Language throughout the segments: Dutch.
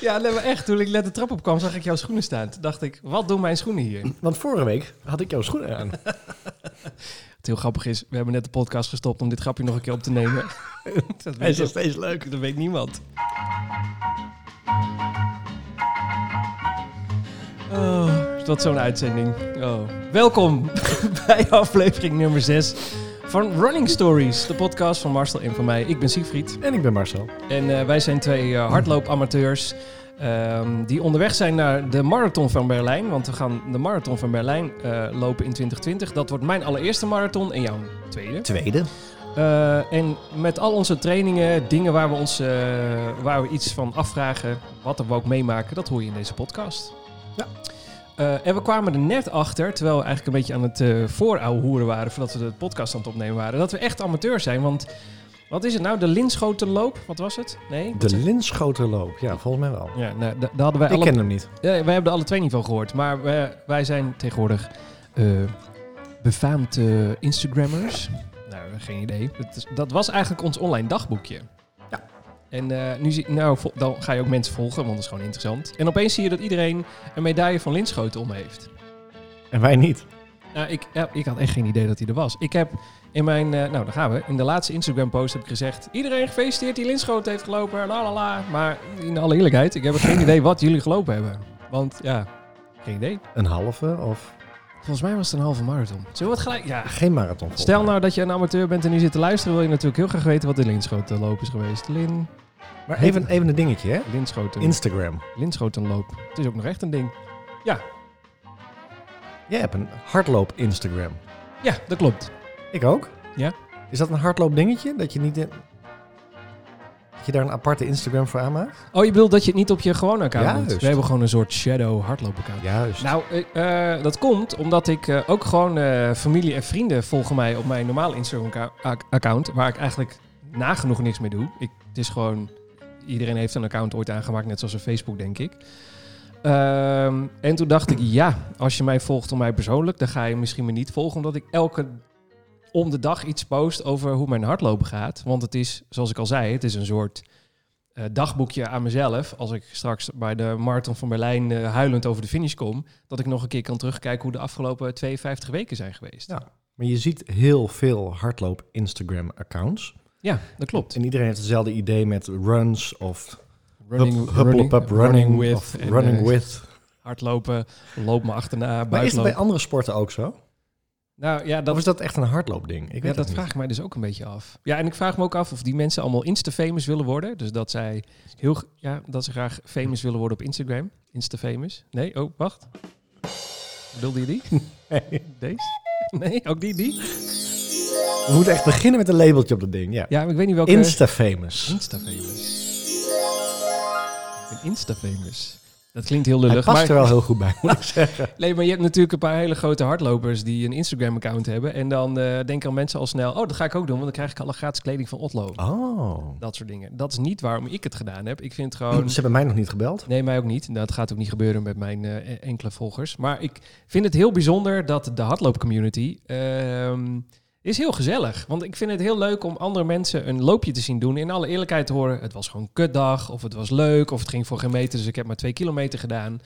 Ja, nee, maar echt, toen ik net de trap op kwam, zag ik jouw schoenen staan. Toen dacht ik, wat doen mijn schoenen hier? Want vorige week had ik jouw schoenen aan. Wat heel grappig is, we hebben net de podcast gestopt om dit grapje nog een keer op te nemen. dat, Hij weet is nog dat, steeds leuk. dat weet niemand. Oh, is dat zo'n uitzending? Oh. Welkom bij aflevering nummer 6 van Running Stories, de podcast van Marcel en van mij. Ik ben Siegfried. En ik ben Marcel. En eh, wij zijn twee eh, hardloopamateurs ehm, die onderweg zijn naar de Marathon van Berlijn. Want we gaan de Marathon van Berlijn eh, lopen in 2020. Dat wordt mijn allereerste marathon en jouw tweede. Tweede. Eh, en met al onze trainingen, dingen waar we, ons, eh, waar we iets van afvragen, wat we ook meemaken, dat hoor je in deze podcast. Ja. Eh, en we kwamen er net achter, terwijl we eigenlijk een beetje aan het eh voorouwehoeren waren voordat we de podcast aan het opnemen waren, dat we echt amateur zijn. Want wat is het nou? De Linschotenloop? Wat was het? Nee? De Linschoterloop. Ja, volgens mij wel. Ja, nou, da- daar hadden wij Ik alle ken hem niet. ja, wij hebben er alle twee niet van gehoord. Maar wij, wij zijn tegenwoordig eh befaamd eh, Instagrammers. Nou, geen idee. Dat, is- dat was eigenlijk ons online dagboekje. Ja. En eh, nu zie, nou, vol- dan ga je ook mensen volgen, want dat is gewoon interessant. En opeens zie je dat iedereen een medaille van Linschoten om heeft. En wij niet. Nou, ik, ja, ik had echt geen idee dat hij er was. Ik heb in mijn, eh, nou daar gaan we, in de laatste Instagram-post heb ik gezegd... Iedereen gefeliciteerd die Linschoten heeft gelopen, la la la. Maar in alle eerlijkheid, ik heb geen idee wat jullie gelopen hebben. Want ja, geen idee. Een halve of Volgens mij was het een halve marathon. Zullen we het gelijk... Ja, geen marathon. volgens stel mij. nou dat je een amateur bent en nu zit te luisteren... wil je natuurlijk heel graag weten wat de Linschotenloop is geweest. Lin... Maar even, even nou- een dingetje, hè? Linschoten... Instagram. Linschotenloop. Het is ook nog echt een ding. Jij hebt een hardloop Instagram. Ja, dat klopt. Ik ook. Ja. Is dat een hardloop dingetje? Dat je niet... in- Dat je daar een aparte Instagram voor aanmaakt? Oh, je bedoelt dat je het niet op je gewone account Ja, doet? juist. We hebben gewoon een soort shadow hardloop-account. Juist. Nou, eh, eh, dat komt omdat ik eh, ook gewoon eh, familie en vrienden volgen mij op mijn normale Instagram-account. Waar ik eigenlijk nagenoeg niks mee doe. Ik, het is gewoon, iedereen heeft een account ooit aangemaakt, net zoals een Facebook, denk ik. Ehm, en toen dacht ik, ja, als je mij volgt om mij persoonlijk, dan ga je misschien me niet volgen. Omdat ik elke om de dag iets post over hoe mijn hardlopen gaat. Want het is, zoals ik al zei, het is een soort eh, dagboekje aan mezelf. Als ik straks bij de Marathon van Berlijn eh, huilend over de finish kom. Dat ik nog een keer kan terugkijken hoe de afgelopen 52 weken zijn geweest. Ja. Maar je ziet heel veel hardloop Instagram accounts. Ja, dat klopt. En iedereen heeft hetzelfde idee met runs of Running, hup, hup, hup, running, with, with. en, running eh, with. Hardlopen, loop me achterna, Maar is dat bij buitenloop. andere sporten ook zo? Nou ja, of dat, is dat echt een hardloopding? Ik weet ja, het dat niet. vraag ik mij dus ook een beetje af. Ja, en ik vraag me ook af of die mensen allemaal Insta-famous willen worden. Dus dat zij heel, g- ja, dat ze graag famous willen worden op Instagram. Insta-famous. Nee, oh, wacht. Bedoelde je die? Nee. Deze? Nee, ook die, die? We moeten echt beginnen met een labeltje op dat ding. Ja. Hm. Ja, maar ik weet niet welke... Insta-famous. Instafamous. Een Instafamous. Dat klinkt heel Hij lullig. past Maar, er wel heel goed bij, moet ik zeggen. nee, maar je hebt natuurlijk een paar hele grote hardlopers die een Instagram-account hebben. En dan eh, denken al mensen al snel, oh, dat ga ik ook doen, want dan krijg ik alle gratis kleding van Otlo. Oh. Dat soort dingen. Dat is niet waarom ik het gedaan heb. Ik vind het gewoon... Hm, Ze hebben mij nog niet gebeld. Nee, mij ook niet. Nou, dat gaat ook niet gebeuren met mijn eh, e- enkele volgers. Maar ik vind het heel bijzonder dat de hardloopcommunity ehm, is heel gezellig. Want ik vind het heel leuk om andere mensen een loopje te zien doen. In alle eerlijkheid te horen, het was gewoon een kutdag. Of het was leuk. Of het ging voor geen meter, dus ik heb maar twee kilometer gedaan.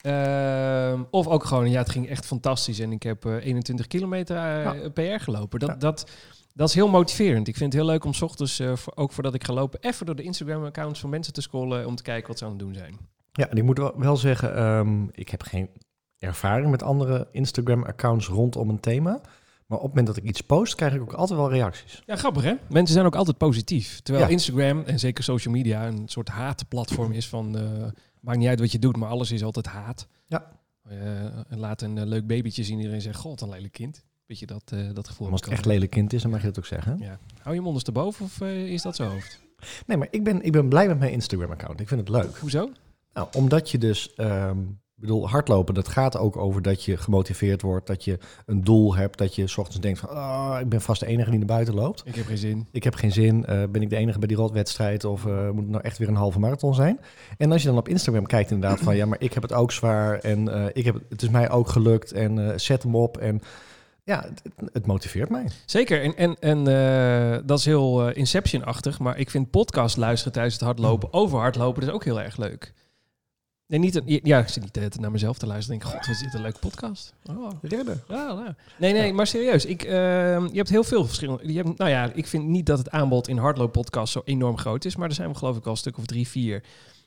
Ehm, of ook gewoon, ja, het ging echt fantastisch. En ik heb eh, 21 kilometer eh, PR gelopen. Dat, Ja. dat, dat is heel motiverend. Ik vind het heel leuk om 's ochtends, eh, voor- ook voordat ik ga lopen, even door de Instagram-accounts van mensen te scrollen. Om te kijken wat ze aan het doen zijn. Ja, en ik moet wel- wel zeggen, ehm, ik heb geen ervaring met andere Instagram-accounts rondom een thema. Maar op het moment dat ik iets post, krijg ik ook altijd wel reacties. Ja, grappig hè? Mensen zijn ook altijd positief. Terwijl Ja. Instagram en zeker social media een soort haatplatform is van... eh, maakt niet uit wat je doet, maar alles is altijd haat. Ja. Eh, en laat een eh, leuk babytje zien. Iedereen zegt, god, een lelijk kind. Weet je dat, eh, dat gevoel? Als het kan. echt lelijk kind is, dan mag je dat ook zeggen. ja. Hou je hem ondersteboven of eh, is dat zijn hoofd? Nee, maar ik ben, ik ben blij met mijn Instagram-account. Ik vind het leuk. Hoezo? Nou, omdat je dus, ehm, ik bedoel, hardlopen, dat gaat ook over dat je gemotiveerd wordt, dat je een doel hebt, dat je 's ochtends denkt van, ah, ik ben vast de enige die naar buiten loopt. Ik heb geen zin. Ik heb geen zin, eh, ben ik de enige bij die rotwedstrijd of eh, moet het nou echt weer een halve marathon zijn? En als je dan op Instagram kijkt inderdaad van, ja, maar ik heb het ook zwaar en eh, ik heb, het- het is mij ook gelukt en eh, zet hem op en Ja, het, het- het motiveert mij. Zeker, en, en, en eh, dat is heel eh, Inception-achtig, maar ik vind podcast luisteren tijdens het hardlopen, over hardlopen, dat is ook heel erg leuk. Nee, niet een, ja, ik zit niet de hele tijd naar mezelf te luisteren. Denk, god, wat is dit een leuke podcast. Oh, Ridden. ja, nou. Nee, nee, maar serieus. Ik, eh, je hebt heel veel verschillende. Je hebt, nou ja, ik vind niet dat het aanbod in hardlooppodcasts zo enorm groot is, maar er zijn we geloof ik al een stuk of drie, vier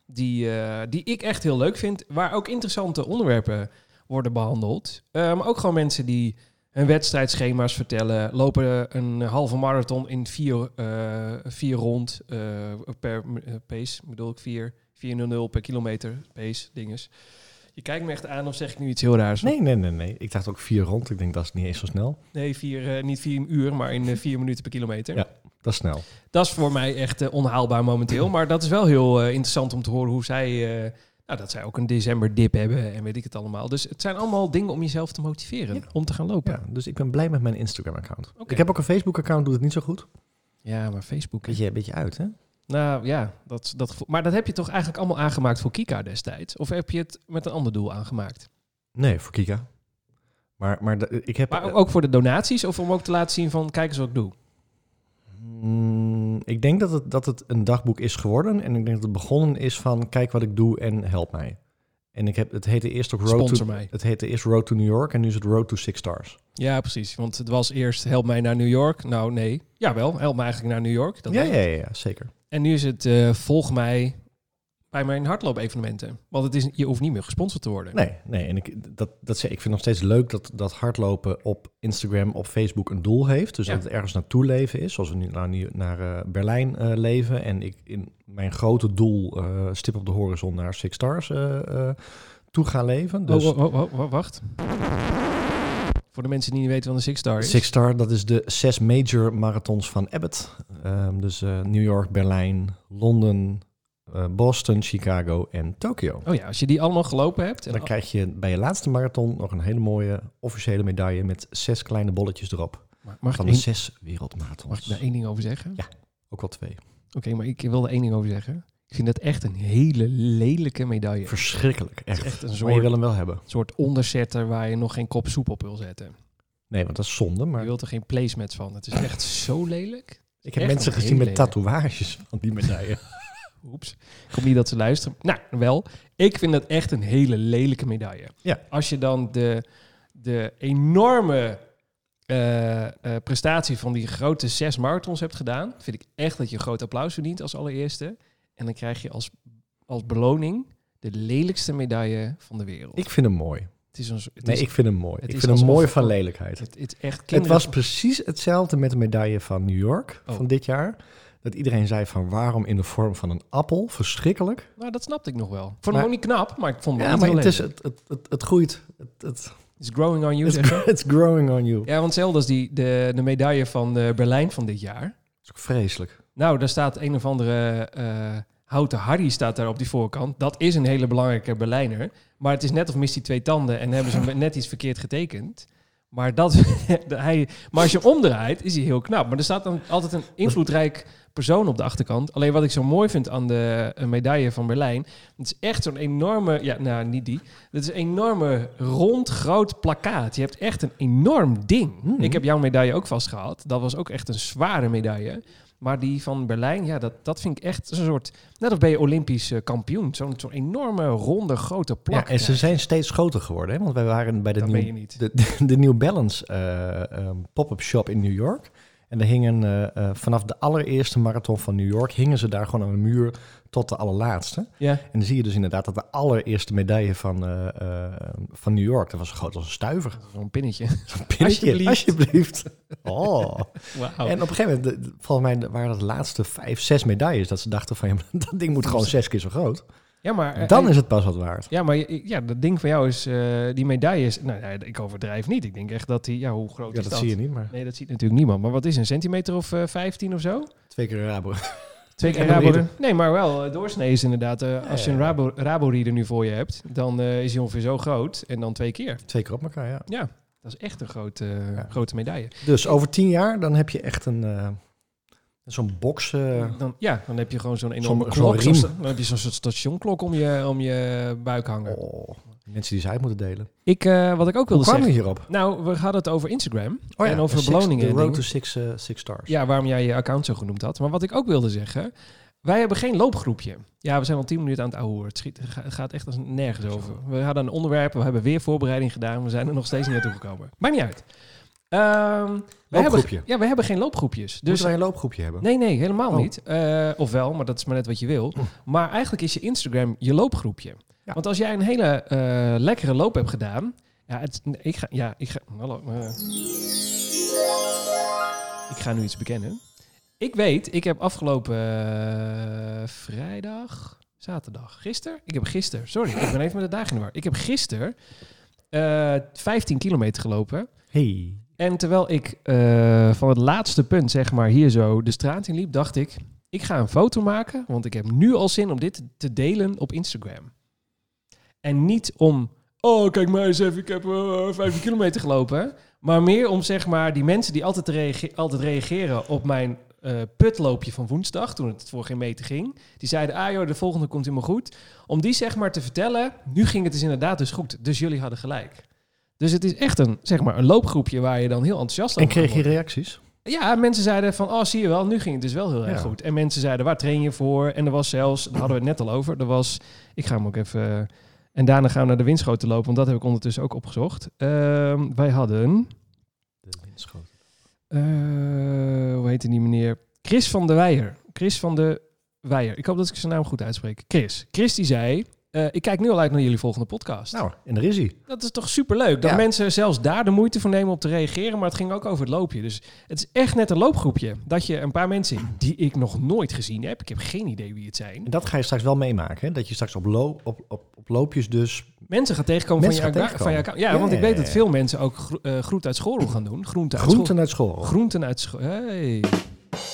die, eh, die ik echt heel leuk vind, waar ook interessante onderwerpen worden behandeld. Eh, maar ook gewoon mensen die hun wedstrijdschema's vertellen, lopen een halve marathon in vier, eh, vier rond eh, per eh, pace, bedoel ik vier, 400 per kilometer pace dinges. Je kijkt me echt aan of zeg ik nu iets heel raars? Nee, nee, nee, nee. Ik dacht ook vier rond. Ik denk dat is niet eens zo snel. Nee, vier, eh, niet vier uur, maar in eh, vier minuten per kilometer. Ja. Dat is snel. Dat is voor mij echt eh, onhaalbaar momenteel. Maar dat is wel heel eh, interessant om te horen hoe zij... eh, nou, dat zij ook een decemberdip hebben en weet ik het allemaal. Dus het zijn allemaal dingen om jezelf te motiveren Ja. om te gaan lopen. Ja, dus ik ben blij met mijn Instagram-account. Oké. Ik heb ook een Facebook-account, doet het niet zo goed. Ja, maar Facebook... Beetje, beetje uit, hè? Nou ja, dat, dat gevoel. Maar dat heb je toch eigenlijk allemaal aangemaakt voor Kika destijds? Of heb je het met een ander doel aangemaakt? Nee, voor Kika. Maar, maar de- ik heb... Maar eh, ook voor de donaties? Of om ook te laten zien van, kijk eens wat ik doe? mm, ik denk dat het, dat het een dagboek is geworden. En ik denk dat het begonnen is van kijk wat ik doe en help mij. En ik heb, het heette eerst ook Road to, Sponsor mij. het heette eerst Road to New York en nu is het Road to Six Stars. Ja, precies. Want het was eerst help mij naar New York. Nou, nee. Jawel, help mij eigenlijk naar New York. Dat ja, was ja, ja, ja, zeker. En nu is het eh, volg mij bij mijn hardloop-evenementen. Want het is, je hoeft niet meer gesponsord te worden. Nee, nee. En ik, dat, dat, zeg- ik vind nog steeds leuk dat, dat hardlopen op Instagram, op Facebook een doel heeft. Dus Ja. dat het ergens naartoe leven is. Zoals we nu nou, nu naar eh, Berlijn eh, leven. En ik in mijn grote doel, eh, stip op de horizon, naar Six Stars eh, eh, toe ga leven. Dus Oh, oh, oh, oh, wacht. Voor de mensen die niet weten wat een Six Star is. Six Star, dat is de zes major marathons van Abbott. Ehm, dus eh, New York, Berlijn, Londen, eh, Boston, Chicago en Tokio. Oh ja, als je die allemaal gelopen hebt. Oh, En Dan krijg je bij je laatste marathon nog een hele mooie officiële medaille met zes kleine bolletjes erop. nou, Maar mag, ik Van één- de zes mag ik wereldmarathons. daar één ding over zeggen? Ook wel twee. Oké, maar ik wil er één ding over zeggen. Ik vind dat echt een hele lelijke medaille. Verschrikkelijk, echt. Het is echt een Maar je soort, wil hem wel hebben. een soort onderzetter waar je nog geen kop soep op wil zetten. Nee, want dat is zonde. Je Maar wilt er geen placemats van. Het is echt zo lelijk. ik heb echt mensen een gezien met hele- tatoeages van die medaille. Oeps. Ik hoop niet dat ze luisteren. Nou, wel. Ik vind dat echt een hele lelijke medaille. Ja. Als je dan de, de enorme eh, eh, prestatie van die grote zes marathons hebt gedaan, vind ik echt dat je een groot applaus verdient als allereerste. En dan krijg je als, als beloning de lelijkste medaille van de wereld. ik vind hem mooi. het is een, zo- het Nee, is, ik vind hem mooi. het Ik is vind hem alsof- mooi van lelijkheid. het, het is echt Het kinderen. was precies hetzelfde met de medaille van New York Oh. van dit jaar. Dat iedereen zei van waarom in de vorm van een appel? Verschrikkelijk. Nou, dat snapte ik nog wel. Ik vond Maar- hem ook niet knap, maar ik vond hem Ja, niet maar heel het, is, lelijk. het, het, het, het groeit. Het, het, It's growing on you, it's, zeg je? it's growing on you. Ja, want zelfs als die, de, de medaille van eh, Berlijn van dit jaar. Dat is ook vreselijk. Nou, daar staat een of andere eh, houten Harry staat daar op die voorkant. Dat is een hele belangrijke Berlijner. Maar het is net of mist hij twee tanden en hebben ze hem net iets verkeerd getekend. Maar, dat, hij, maar als je hem omdraait, is hij heel knap. Maar er staat dan altijd een invloedrijk persoon op de achterkant. Alleen wat ik zo mooi vind aan de eh, medaille van Berlijn... het is echt zo'n enorme... Ja, nou, niet die. Het is een enorme, rond, groot plakkaat. Je hebt echt een enorm ding. Hmm. Ik heb jouw medaille ook vastgehad. Dat was ook echt een zware medaille. Maar die van Berlijn, ja, dat, dat vind ik echt een soort... Net als ben je Olympisch eh, kampioen. Zo'n zo'n enorme, ronde, grote plak. Ja, en ze zijn steeds groter geworden. Hè? Want wij waren bij de dat nieuwe ben je niet. de, de, de New Balance eh, ehm, pop-up shop in New York. En daar hingen eh, eh, vanaf de allereerste marathon van New York, hingen ze daar gewoon aan de muur tot de allerlaatste. Ja. En dan zie je dus inderdaad dat de allereerste medaille van, eh, eh, van New York, dat was zo groot als een stuiver. Zo'n pinnetje. Een Alsjeblieft. pinnetje, alsjeblieft. Oh. Wauw. En op een gegeven moment, de- volgens mij waren dat de laatste vijf, zes medailles, dat ze dachten van, ja, maar dat ding moet gewoon zes keer zo groot. Ja, maar, eh, Dan eh, is het pas wat waard. ja, maar je- ja, dat ding van jou is, eh, die medaille is, nou ja, ik overdrijf niet. Ik denk echt dat die, ja, hoe groot Ja, is dat dat? zie je niet, maar Nee, dat ziet natuurlijk niemand. Maar wat is een centimeter of eh 15 of zo? twee keer rabo. Twee keer ken hem rabo. niet. Nee, maar wel, eh, doorsnee is inderdaad, eh, als je een ja, ja. rabo, rabo reader nu voor je hebt, dan eh, is hij ongeveer zo groot en dan twee keer. Twee keer op elkaar, ja. Ja, dat is echt een grote, Ja. grote medaille. Dus over tien jaar, dan heb je echt een... eh, zo'n box... eh, Dan, ja, dan heb je gewoon zo'n enorme Zo'n- zo'n klok. riem. zo'n sta- dan heb je zo'n soort stationklok om je, om je buik hangen. oh, mensen die ze uit moeten delen. Ik, eh, wat ik ook wilde Hoe kwam Oh zeggen. je hierop? Oh Nou, we hadden het over Instagram en over six- beloningen. en The road dingen. to six, eh, six stars. Ja, waarom jij je account zo genoemd had. Maar wat ik ook wilde zeggen. Wij hebben geen loopgroepje. Ja, we zijn al tien minuten aan het ouwe hoor. Het schiet- ga- het gaat echt als nergens over. We hadden een onderwerp, we hebben weer voorbereiding gedaan. We zijn er nog steeds niet naartoe gekomen. Maakt niet uit. Ehm, we hebben, Loopgroepje. ja, we hebben geen loopgroepjes. Moeten Dus, wij een loopgroepje hebben? nee, nee, helemaal Oh. niet. Eh, of wel, maar dat is maar net wat je wil. Maar eigenlijk is je Instagram je loopgroepje. Ja. Want als jij een hele eh, lekkere loop hebt gedaan... Ja, het, ik ga... Ja, ik ga hallo, eh. ik ga nu iets bekennen. Ik weet, ik heb afgelopen eh, vrijdag, zaterdag, gisteren. Ik heb gisteren, sorry, ik ben even met de dagen in de war. Ik heb gisteren eh 15 kilometer gelopen. Hey. En terwijl ik eh, van het laatste punt, zeg maar, hier zo de straat in liep, dacht ik, ik ga een foto maken, want ik heb nu al zin om dit te delen op Instagram. En niet om, oh kijk maar eens even, ik heb eh 15 kilometer gelopen. Maar meer om, zeg maar, die mensen die altijd, reage- altijd reageren op mijn eh, putloopje van woensdag, toen het voor geen meter ging. Die zeiden, ah joh, de volgende komt helemaal goed. Om die, zeg maar, te vertellen, nu ging het dus inderdaad dus goed. Dus jullie hadden gelijk. Dus het is echt een, zeg maar, een loopgroepje waar je dan heel enthousiast En over kan kreeg je worden. reacties? Ja, mensen zeiden van, oh zie je wel, nu ging het dus wel heel erg Ja. goed. En mensen zeiden, waar train je voor? En er was zelfs, daar hadden we het net al over, er was, ik ga hem ook even... eh, En daarna gaan we naar de windschoten lopen, want dat heb ik ondertussen ook opgezocht. Ehm, wij hadden, De windschoten. eh, hoe heette die meneer? Chris van de Weijer. Chris van de Weijer. Ik hoop dat ik zijn naam goed uitspreek. Chris. Chris die zei, eh, ik kijk nu al uit naar jullie volgende podcast. Nou, en daar is hij. Dat is toch superleuk. Dat Ja. mensen zelfs daar de moeite voor nemen om te reageren. Maar het ging ook over het loopje. Dus het is echt net een loopgroepje. Dat je een paar mensen die ik nog nooit gezien heb. Ik heb geen idee wie het zijn. En dat ga je straks wel meemaken. Hè? Dat je straks op, lo- op, op, op loopjes dus... Mensen gaan tegenkomen Mensen van, je gaan account- van je account. Ja, Ja, want ik ja, weet ja, dat ja. veel mensen ook gro eh, groente uit schorrel gaan doen. Groente uit schorrel. Groenten uit school. Groenten uit school. Hey.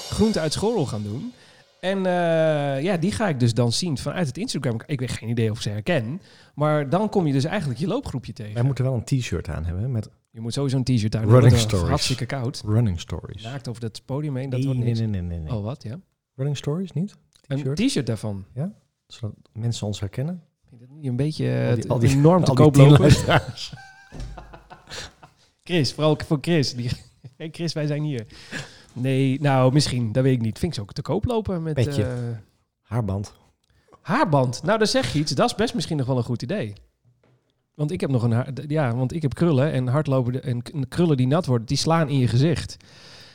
Groenten uit school gaan doen. En eh, ja, die ga ik dus dan zien vanuit het Instagram. Ik weet geen idee of ik ze herken. Maar dan kom je dus eigenlijk je loopgroepje tegen. Wij moeten wel een t-shirt aan hebben met Je moet sowieso een t-shirt aan. Running want het is stories. Hartstikke koud. running stories. Naakt over dat podium heen. Nou, Dat nee, wordt nee, niks. nee, nee, nee, nee. Oh, wat? Ja. Running stories, niet? Een T-shirt? t-shirt daarvan. Zodat mensen ons herkennen. Vind je dat niet Een beetje eh, Al die- te- al die- enorm te al die koop tien lopen. luisteraars. Chris, vooral voor Chris. Die, hey Chris, wij zijn hier. Nee, nou, misschien. Dat weet ik niet. Vind ik ze ook te koop lopen met Petje. eh, Haarband. haarband. Nou, daar zeg je iets. Dat is best misschien nog wel een goed idee. Want ik heb nog een haar, d- ja, want ik heb krullen en hardlopen de- en k- krullen die nat worden, die slaan in je gezicht.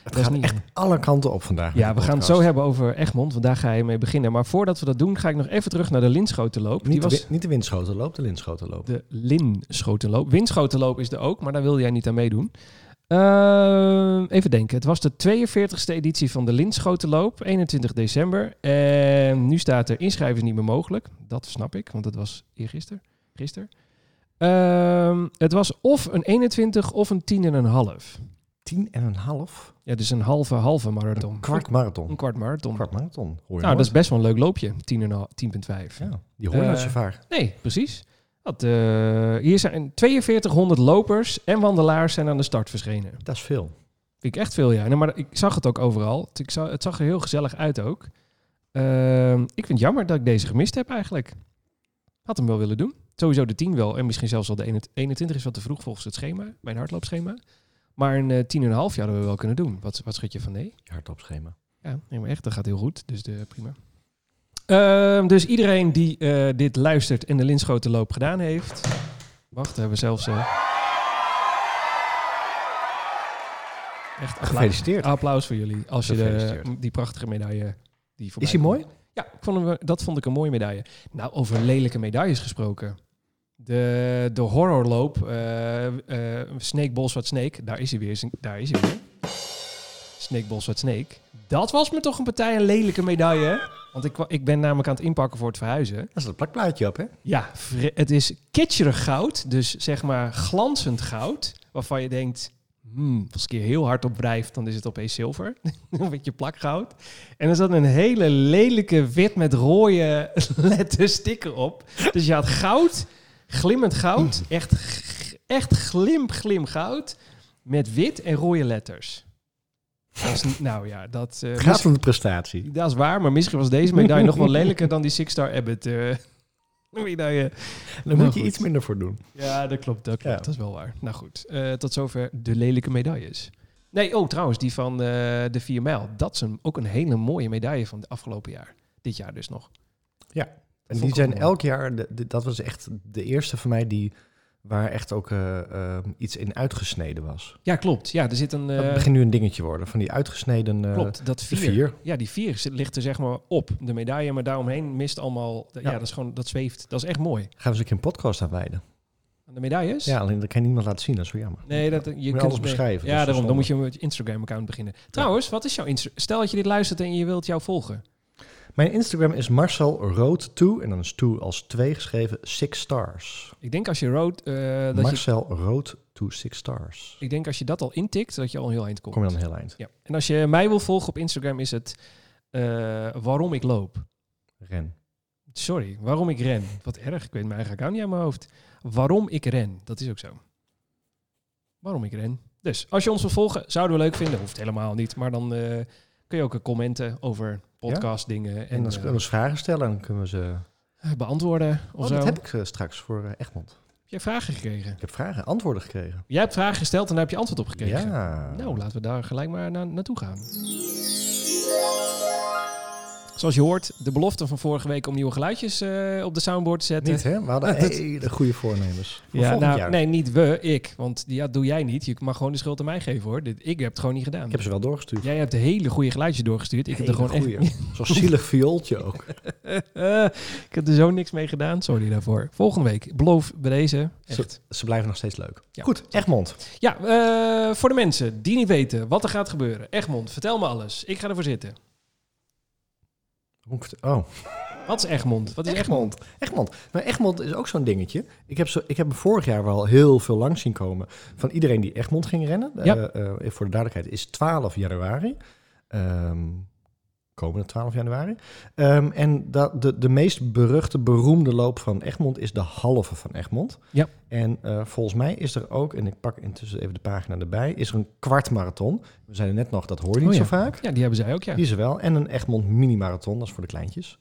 Het is gaat niet- echt alle kanten op vandaag. met Ja, de we gaan het podcast. zo hebben over Egmond, want daar ga je mee beginnen. Maar voordat we dat doen, ga ik nog even terug naar de Linschotenloop. Die Niet, de, was win- niet de windschotenloop, de linschotenloop. De Linschotenloop. Windschotenloop is er ook, maar daar wilde jij niet aan meedoen. Ehm, even denken. Het was de 42e editie van de Linschotenloop, 21 december. En nu staat er inschrijven is niet meer mogelijk. Dat snap ik, want dat was eergisteren. Gisteren. Ehm, het was of een 21 of een 10 en een half. Tien en een half. Ja, dus een halve halve marathon. Een kwart marathon. Een kwart marathon. Een kwart marathon. Hoor je nou, dat nooit. is best wel een leuk loopje, 10 en een hal- 10,5. Ja, die hoor je Eh, nooit zo vaak. Nee, precies. Dat, eh, hier zijn 4200 lopers en wandelaars zijn aan de start verschenen. Dat is veel. Vind ik echt veel, ja. Nee, maar ik zag het ook overal. Het- Ik zag, het zag er heel gezellig uit ook. Ehm, ik vind het jammer dat ik deze gemist heb eigenlijk. Had hem wel willen doen. Sowieso de 10 wel. En misschien zelfs al de 21 21 is wat te vroeg volgens het schema. Mijn hardloopschema. Maar een eh, 10,5 jaar hadden we wel kunnen doen. Wat, wat schud je van nee? Je hardloopschema. Ja, nee, maar echt, dat gaat heel goed. Dus de, prima. Ehm, dus iedereen die eh, dit luistert en de Linschotenloop gedaan heeft... Wacht, we hebben zelfs... eh, echt applaus, Gefeliciteerd. applaus voor jullie. Als je de, Gefeliciteerd. die prachtige medaille... Die voorbij Is die mooi? komt. Ja, ik vond hem- eh, dat vond ik een mooie medaille. Nou, over lelijke medailles gesproken. De, de horrorloop, eh, eh, Snake Bolsward Snake, daar is hij weer. Daar is hij weer. Snake Bolsward Snake. Dat was me toch een partij een lelijke medaille. hè? Want ik, kwa- ik ben namelijk aan het inpakken voor het verhuizen. Daar staat een plakplaatje op, hè? Ja, vre- het is kitscherig goud, dus zeg maar glanzend goud, waarvan je denkt, hmm, als ik hier heel hard op wrijf, dan is het opeens zilver. een beetje plakgoud. En er zat een hele lelijke wit met rode letter sticker op. Dus je had goud, glimmend goud, echt, g- echt glim, glim goud, met wit en rode letters. Dat is niet- nou ja, dat... eh, Het gaat om de prestatie. dat is waar, maar misschien was deze medaille nog wel lelijker dan die Six Star Abbott. eh. Moet je daar je- Dan Nou, moet je goed. iets minder voor doen. Ja, dat klopt. Dat, klopt. Ja. dat is wel waar. Nou goed, eh, tot zover de lelijke medailles. Nee, oh trouwens, die van eh, de 4 mijl. Dat is een, ook een hele mooie medaille van het afgelopen jaar. Dit jaar dus nog. En Vond die ik ook zijn mooi. elk jaar, de- de- dat was echt de eerste van mij die waar echt ook eh, eh, iets in uitgesneden was. Ja, klopt. Ja, er zit een... eh, dat begint nu een dingetje worden, van die uitgesneden eh, klopt, dat de 4. vier. Ja, die 4 ligt er zeg maar op. De medaille, maar daaromheen mist allemaal... Ja, Ja. dat, is gewoon, dat zweeft. Dat is echt mooi. Gaan we eens een keer een podcast aan wijden. Aan de medailles? Ja, alleen dat kan niemand laten zien, dat is wel jammer. Nee, dat, je kunt alles nee. beschrijven, Ja, daarom. dus Dan verstandig. moet je een Instagram-account beginnen. Trouwens, wat is jouw Insta- Stel dat je dit luistert en je wilt jou volgen. Mijn Instagram is Marcel Rood 2 en dan is 2 als 2 geschreven Six Stars. Ik denk als je road, eh, dat je, Marcel Rood to Six Stars. ik denk als je dat al intikt, dat je al een heel eind komt. Kom je dan heel eind. Ja. En als je mij wil volgen op Instagram is het eh, waarom ik loop. Ren. Sorry, waarom ik ren. Wat erg, ik weet mijn eigen account niet uit mijn hoofd. Waarom ik ren, dat is ook zo. Waarom ik ren. Dus als je ons wil volgen, zouden we leuk vinden. Hoeft helemaal niet, maar dan eh, kun je ook eh, commenten over podcast dingen En en, dan eh, kunnen we eens vragen stellen en dan kunnen we ze... beantwoorden of Oh, zo. dat heb ik eh, straks voor eh, Egmond. Heb jij vragen gekregen? Ik heb vragen, antwoorden gekregen. Jij hebt vragen gesteld en daar heb je antwoord op gekregen. Ja. Nou, laten we daar gelijk maar na- naartoe gaan. Zoals je hoort, de belofte van vorige week om nieuwe geluidjes eh, op de soundboard te zetten. Niet, hè? We hadden Ja, dat- hele goede voornemens. Voor ja, volgend nou, jaar. nee, niet we, ik. Want die- ja, dat doe jij niet. Je mag gewoon de schuld aan mij geven hoor. Dit, ik heb het gewoon niet gedaan. Ik heb ze wel doorgestuurd. Jij hebt de hele goede geluidjes doorgestuurd. Ik heb er Hele gewoon echt goeie. Zo'n zielig viooltje ook. Eh, ik heb er zo niks mee gedaan. Sorry daarvoor. Volgende week. Beloof bij deze. Echt. Ze blijven nog steeds leuk. Ja. Goed, Egmond. Ja, eh, voor de mensen die niet weten wat er gaat gebeuren. Egmond, vertel me alles. Ik ga ervoor zitten. Hoe ik het- Oh, Wat is Egmond? Wat is Egmond? Egmond. Egmond. Nou, Egmond is ook zo'n dingetje. Ik heb, zo, ik heb hem vorig jaar wel heel veel langs zien komen van iedereen die Egmond ging rennen. Ja. Eh, eh, voor de duidelijkheid is 12 januari. Ehm, komende 12 januari. Ehm, en dat, de, de meest beruchte, beroemde loop van Egmond is de halve van Egmond. Ja. En eh, volgens mij is er ook, en ik pak intussen even de pagina erbij, is er een kwartmarathon. We zeiden net nog, dat hoor je niet Oh zo vaak. Ja, die hebben zij ook, ja. Die is er wel. En een Egmond mini-marathon, dat is voor de kleintjes.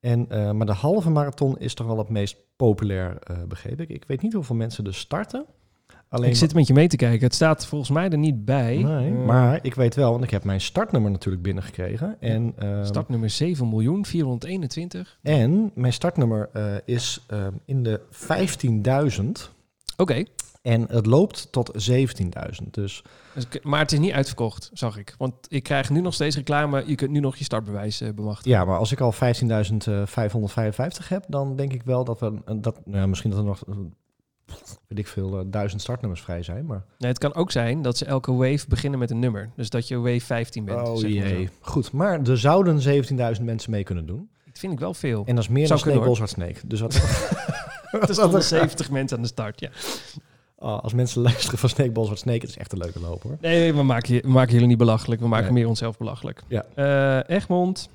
En, eh, maar de halve marathon is toch wel het meest populair, eh, begreep ik. Ik weet niet hoeveel mensen er starten. Alleen ik zit met je mee te kijken. Het staat volgens mij er niet bij. Nee, Eh, maar ik weet wel, want ik heb mijn startnummer natuurlijk binnengekregen. En, ehm, Startnummer 7.421. en mijn startnummer eh, is ehm, in de 15.000. Oké, En het loopt tot 17.000. Dus Dus ik- maar het is niet uitverkocht, zag ik. Want ik krijg nu nog steeds reclame. Je kunt nu nog je startbewijs eh, bemachtigen. ja, maar als ik al 15.555 heb, dan denk ik wel dat we... Dat, nou, ja, misschien dat er nog, eh, weet ik veel, eh, duizend startnummers vrij zijn. Maar Nee, het kan ook zijn dat ze elke wave beginnen met een nummer. Dus dat je wave 15 bent. Oh zeg maar jee. zo. Goed, maar er zouden 17.000 mensen mee kunnen doen. Dat vind ik wel veel. En dat is meer Zou dan kunnen, Snake Bolzard Snake. Dus wat, Er stonden 70 mensen aan de start, ja. Oh, als mensen luisteren van Snake Bolzard Snake, het is echt een leuke loop hoor. Nee, nee, we maken, je- we maken jullie niet belachelijk. We maken Nee. meer onszelf belachelijk. Ja. Eh, Egmond,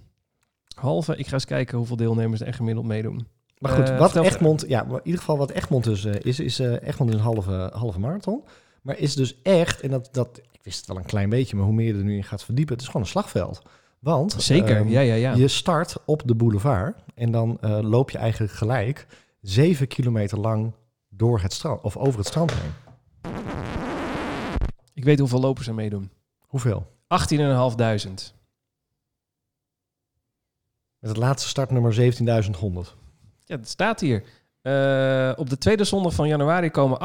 halve. Ik ga eens kijken hoeveel deelnemers er echt gemiddeld meedoen. Maar goed, Eh, wat vertel Egmond, ja, maar in ieder geval wat Egmond dus eh, is, is eh, Egmond is een halve, halve marathon. Maar is dus echt, en dat, dat, ik wist het wel een klein beetje, maar hoe meer je er nu in gaat verdiepen, het is gewoon een slagveld. Want Zeker, ehm, ja, ja, ja. je start op de boulevard en dan eh, loop je eigenlijk gelijk zeven kilometer lang door het strand, of over het strand heen. Ik weet hoeveel lopers er meedoen. Hoeveel? 18.500. Met het laatste startnummer 17.100. Ja, dat staat hier. Eh, op de tweede zondag van januari komen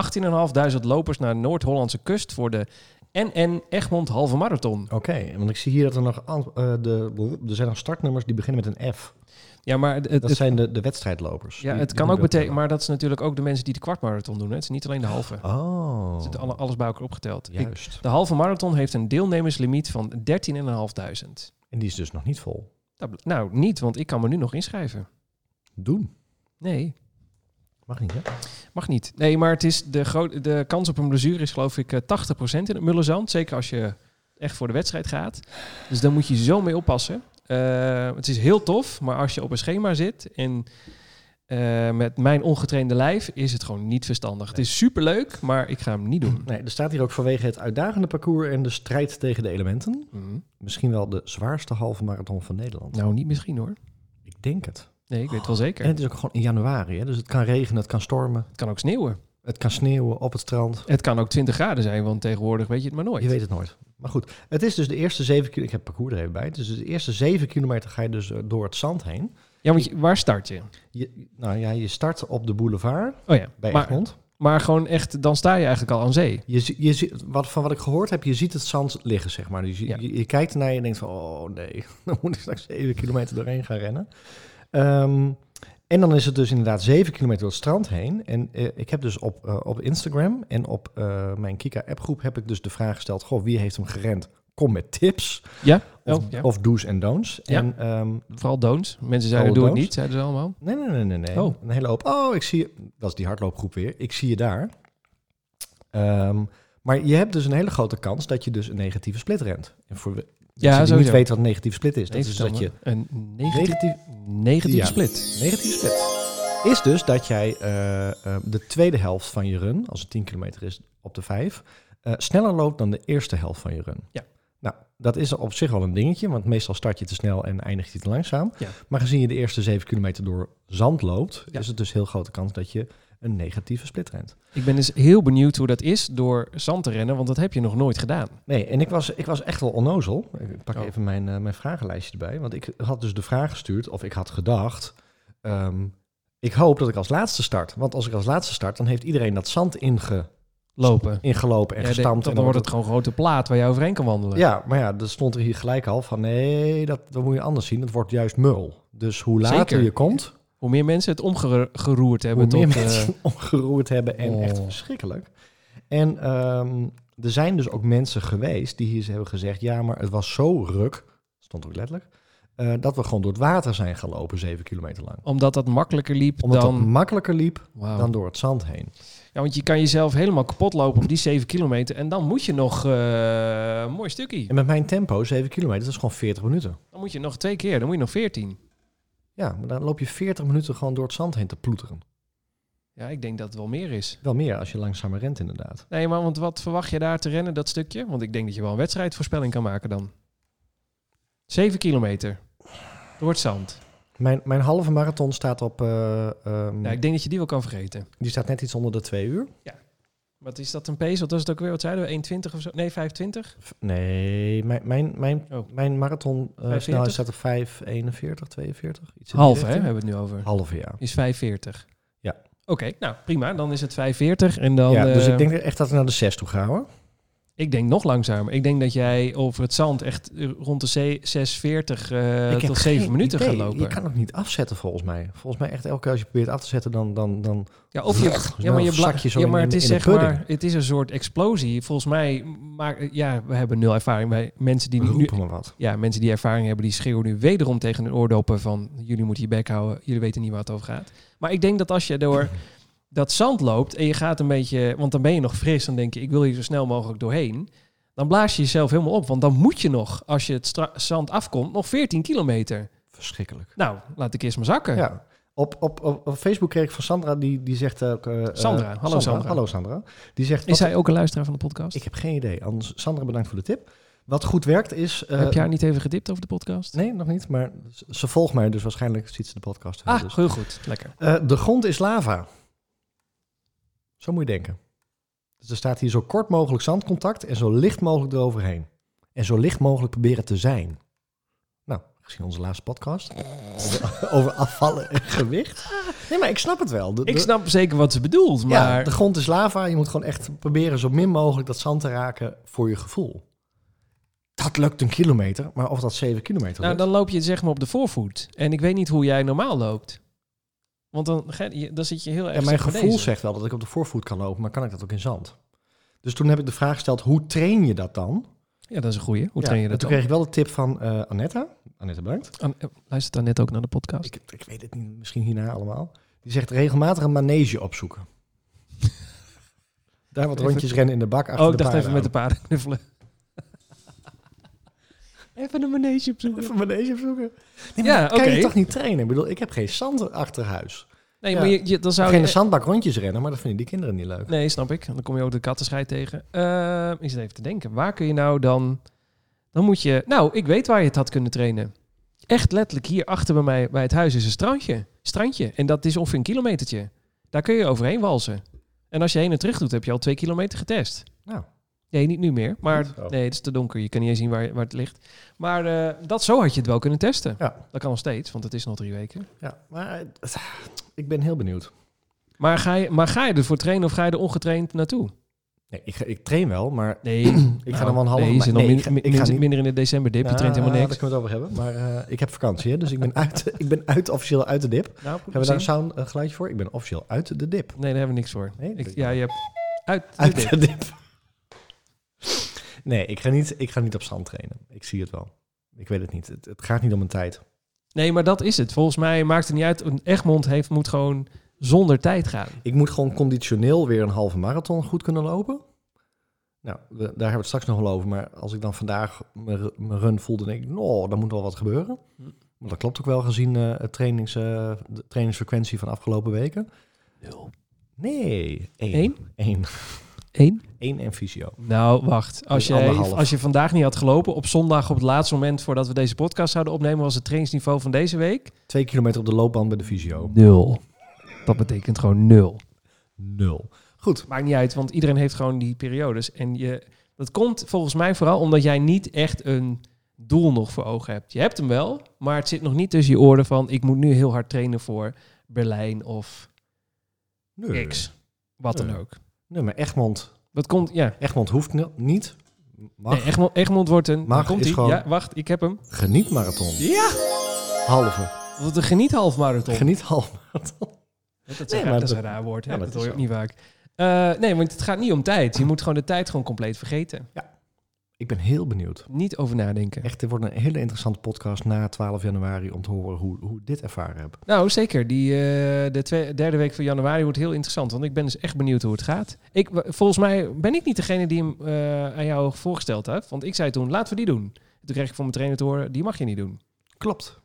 18.500 lopers naar de Noord-Hollandse kust voor de NN Egmond Halve Marathon. Oké, want ik zie hier dat er nog an- eh, de, er zijn nog startnummers die beginnen met een F. Ja, maar het, Dat het- zijn de, de wedstrijdlopers. ja, Die- het die kan ook moeten we betekenen, maar dat is natuurlijk ook de mensen die de kwartmarathon doen. Hè? Het is niet alleen de halve. tellen. Oh. Er zit alle, alles bij elkaar opgeteld. Ik- Juist. de halve marathon heeft een deelnemerslimiet van 13.500. En die is dus nog niet vol. Dat bl- Nou, niet, want ik kan me nu nog inschrijven. Doen. Nee, Mag niet, hè? mag niet. Nee, maar het is de, gro- de kans op een blessure is geloof ik eh, 80% in het Mullenzand. Zeker als je echt voor de wedstrijd gaat. Dus daar moet je zo mee oppassen. Eh, het is heel tof, maar als je op een schema zit en eh, met mijn ongetrainde lijf is het gewoon niet verstandig. Het is superleuk, maar ik ga hem niet doen. Nee, er staat hier ook vanwege het uitdagende parcours en de strijd tegen de elementen. Mhm. Misschien wel de zwaarste halve marathon van Nederland. Nou, niet misschien hoor. Ik denk het. Nee, ik weet het wel zeker. En het is ook gewoon in januari, hè? dus het kan regenen, het kan stormen, het kan ook sneeuwen. het kan sneeuwen op het strand. Het kan ook 20 graden zijn, want tegenwoordig weet je het maar nooit. Je weet het nooit. Maar goed, het is dus de eerste zeven kilometer. Ik heb het parcours er even bij. Dus de eerste zeven kilometer ga je dus eh, door het zand heen. Ja, want je- waar start je? Je, nou ja, je start op de boulevard Oh ja, bij maar, Egmond. maar gewoon echt, dan sta je eigenlijk al aan zee. Je, zie- je, zie- wat, van wat ik gehoord heb, je ziet het zand liggen, zeg maar. Dus je, Ja. je, je kijkt ernaar en je denkt van, oh nee, dan moet ik straks zeven kilometer doorheen gaan rennen. Ehm, en dan is het dus inderdaad zeven kilometer door het strand heen. En eh, ik heb dus op, eh, op Instagram en op eh, mijn Kika-appgroep heb ik dus de vraag gesteld, goh, wie heeft hem gerend? Kom met tips Ja, of, oh, ja. of do's en don'ts. Ja. En ehm, vooral don'ts. Mensen zeiden, doe het Vooral don'ts. niet, zeiden ze allemaal. Nee, nee, nee, nee. nee. Oh. Een hele hoop. Oh, ik zie je. Dat is die hardloopgroep weer. Ik zie je daar. Ehm, maar je hebt dus een hele grote kans dat je dus een negatieve split rent. En voor we- mensen die niet sowieso. weten wat een negatieve split is, dat is vertel dat je me. Een negatief, negatief, negatieve Ja. split. negatieve split is dus dat jij eh, eh, de tweede helft van je run, als het 10 kilometer is op de 5, sneller loopt dan de eerste helft van je run. Ja. Nou, dat is op zich wel een dingetje, want meestal start je te snel en eindigt je te langzaam. Ja. Maar gezien je de eerste 7 kilometer door zand loopt, Ja. is het dus heel grote kans dat je een negatieve split rent. Ik ben dus heel benieuwd hoe dat is door zand te rennen, want dat heb je nog nooit gedaan. Nee, en ik was, ik was echt wel onnozel. Ik pak Oh. even mijn, eh, mijn vragenlijstje erbij, want ik had dus de vraag gestuurd, of ik had gedacht... ehm, ik hoop dat ik als laatste start. Want als ik als laatste start, dan heeft iedereen dat zand inge, Lopen. ingelopen en Ja, gestampt. dan en wordt het gewoon een grote plaat waar je overheen kan wandelen. Ja, maar ja, dan stond er hier gelijk al van nee, dat, dat moet je anders zien. Dat wordt juist mul. Dus hoe later Zeker. je komt, Hoe meer mensen het omgeroerd hoe hebben meer tot... eh, mensen omgeroerd hebben en oh. echt verschrikkelijk. En ehm, er zijn dus ook mensen geweest die hier eens hebben gezegd, ja, maar het was zo ruk, stond ook letterlijk, eh, dat we gewoon door het water zijn gelopen zeven kilometer lang. omdat dat makkelijker liep Omdat dan... Oh. dat makkelijker liep Wauw. dan door het zand heen. Ja, want je kan jezelf helemaal kapot lopen op die 7 kilometer. En dan moet je nog eh, een mooi stukje. En met mijn tempo, zeven kilometer, dat is gewoon 40 minuten. Dan moet je nog twee keer, dan moet je nog 14. Ja, maar dan loop je 40 minuten gewoon door het zand heen te ploeteren. Ja, ik denk dat het wel meer is. Wel meer als je langzamer rent, inderdaad. Nee, maar want wat verwacht je daar te rennen, dat stukje? Want ik denk dat je wel een wedstrijdvoorspelling kan maken dan. 7 kilometer. Door het zand. Mijn, mijn halve marathon staat op. eh, ehm, Ja, ik denk dat je die wel kan vergeten. Die staat net iets onder de twee uur. Wat is dat een pace? Wat was het ook weer? Wat zeiden we? 1,20 of zo? Nee, 25? V- Nee, mijn, mijn, mijn, Oh. mijn marathon eh, 45? snelheid staat op 5, 41, 42. Iets in die Half, hè? richting. Hebben we het nu over. Halve, ja. Is 45. Ja. Oké, nou prima. Dan is het 45 en dan... ja dus eh, ik denk echt dat we naar de 6 toe gaan hoor. Ik denk nog langzamer. Ik denk dat jij over het zand echt eh, rond de zee- 640 eh, ik heb tot 7 geen minuten idee. gaat lopen. Je kan het niet afzetten volgens mij. Volgens mij echt elke keer als je probeert af te zetten, dan. dan, dan Ja, of je, ja, maar je bla- zak je zo ja, maar in- het is in de zeg maar, pudding. het is een soort explosie. Volgens mij, maar ja, we hebben nul ervaring. Wij mensen die nu, roepen maar wat. ja, mensen die ervaring hebben, die schreeuwen nu wederom tegen hun oordoppen van jullie moeten je bek houden, jullie weten niet waar het over gaat. Maar ik denk dat als je door dat zand loopt en je gaat een beetje, want dan ben je nog fris, dan denk je ik wil hier zo snel mogelijk doorheen. Dan blaas je jezelf helemaal op, want dan moet je nog, als je het stra- zand afkomt, nog 14 kilometer. Verschrikkelijk. Nou, laat ik eerst maar zakken. Ja. Op, op, op, op Facebook kreeg ik van Sandra, die, die zegt ook... eh, eh, Sandra, hallo Sandra. Hallo Sandra. Die zegt, Is wat- zij ook een luisteraar van de podcast? Ik heb geen idee. Anders, Sandra, bedankt voor de tip. Wat goed werkt is... eh, Heb jij haar niet even gedipt over de podcast? Nee, nog niet. Maar ze- ze volgt mij, dus waarschijnlijk ziet ze de podcast. wel. Ah, Dus. heel goed. Lekker. Eh, de grond is lava. Zo moet je denken. Dus er staat hier zo kort mogelijk zandcontact en zo licht mogelijk eroverheen. En zo licht mogelijk proberen te zijn. Nou, gezien onze laatste podcast over, over afvallen en gewicht. Nee, maar ik snap het wel. De- Ik de- snap zeker wat ze bedoelt, ja, maar... de grond is lava. Je moet gewoon echt proberen zo min mogelijk dat zand te raken voor je gevoel. Dat lukt een kilometer, maar of dat zeven kilometer Nou, lukt. dan loop je zeg maar op de voorvoet. En ik weet niet hoe jij normaal loopt. Want dan, ge- je- dan zit je heel erg... en mijn zeg maar gevoel deze. zegt wel dat ik op de voorvoet kan lopen, maar kan ik dat ook in zand? Dus toen heb ik de vraag gesteld, hoe train je dat dan? Ja, dat is een goeie. Hoe Ja, train je en dat Toen dan? kreeg ik wel de tip van eh Annetta. Annetta, bedankt. An- eh, Luistert dan net ook naar de podcast? Ik, ik weet het niet, misschien hierna allemaal. Die zegt regelmatig een manege opzoeken. Daar wat Even- rondjes rennen in de bak achter Oh, ik de dacht even met de paarden paarden knuffelen. even een manege aan. opzoeken. Even een manege opzoeken. Ja, oké. Kan je toch niet trainen? Ik bedoel, ik heb geen zand achter huis. Nee, Ja. maar je, je- dan Zou zou geen je... zandbak rondjes rennen, maar dat vinden die kinderen niet leuk. Nee, snap ik. Dan kom je ook de kattenscheid tegen. Eh, ik zit even te denken. Waar kun je nou dan... Dan moet je... Nou, ik weet waar je het had kunnen trainen. echt letterlijk hier achter bij mij bij het huis is een strandje. strandje. En dat is ongeveer een kilometertje. Daar kun je overheen walsen. En als je heen en terug doet, heb je al twee kilometer getest. Nou. Nee, niet nu meer. Maar Goed. Oh. nee, het is te donker. Je kan niet eens zien waar, waar het ligt. Maar eh, dat, zo had je het wel kunnen testen. Ja. Dat kan nog steeds, want het is nog drie weken. Ja, maar eh, ik ben heel benieuwd. Maar ga je, maar ga je ervoor trainen of ga je er ongetraind naartoe? Nee, ik, ga- ik train wel, maar Nee. ik ik ga dan wel een halve Nee, je ma- zit nog nee, min- ik ga- min- ik ga min- niet- minder in de december dip. Je Ja, nou, traint helemaal Daar niks. kunnen we het over hebben. Maar eh, ik heb vakantie, hè, dus ik ben, uit, ik ben uit officieel uit de dip. Nou, Hebben we daar een zin? sound, een geluidje voor? Ik ben officieel uit de dip. Nee, daar hebben we niks voor. Nee, Ik, ja, je hebt uit de uit dip. de dip. Nee, ik ga, niet, ik ga niet op zand trainen. Ik zie het wel. Ik weet het niet. Het, het gaat niet om een tijd. Nee, maar dat is het. Volgens mij maakt het niet uit. Een Egmond heeft, moet gewoon zonder tijd gaan. Ik moet gewoon conditioneel weer een halve marathon goed kunnen lopen. Nou, we- daar hebben we het straks nog wel over. Maar als ik dan vandaag mijn ru- mijn run voel, dan denk ik, nou, daar moet wel wat gebeuren. Hm. Maar dat klopt ook wel gezien eh, het trainings, eh, de trainingsfrequentie van afgelopen weken. Nul. Nee, één. Eén? Eén. Eén? Eén en fysio. Nou, wacht. Als, Dus jij, anderhalf. als je vandaag niet had gelopen, op zondag op het laatste moment voordat we deze podcast zouden opnemen, was het trainingsniveau van deze week? Twee kilometer op de loopband bij de fysio. Nul. Dat betekent gewoon nul. Nul. Goed. Maakt niet uit, want iedereen heeft gewoon die periodes. En je, dat komt volgens mij vooral omdat jij niet echt een doel nog voor ogen hebt. Je hebt hem wel, maar het zit nog niet tussen je oren van... ik moet nu heel hard trainen voor Berlijn of Nee. X. Wat dan Nee. ook. Nee, maar Egmond, Dat komt, ja. Egmond hoeft ni- niet. Mag. Nee, Egmond, Egmond wordt een... Mag daar komt is ie. gewoon- Ja, wacht, ik heb hem. Geniet marathon. Ja! Halve. Wat een geniet half marathon. Geniet halve marathon. dat, is Nee, een maar raar- dat is dat- een raar woord, hè? Ja, dat, dat hoor is je ook niet vaak. Eh, nee, want het gaat niet om tijd. Je moet gewoon de tijd gewoon compleet vergeten. Ik ben heel benieuwd. Niet over nadenken. Echt, dit wordt een hele interessante podcast na 12 januari om te horen hoe, hoe ik dit ervaren heb. Nou, zeker. Die, eh, de twee- derde week van januari wordt heel interessant. Want ik ben dus echt benieuwd hoe het gaat. Ik, w- volgens mij ben ik niet degene die hem eh, aan jou voorgesteld heeft. Want ik zei toen, laten we die doen. Toen kreeg ik van mijn trainer te horen, die mag je niet doen. Klopt.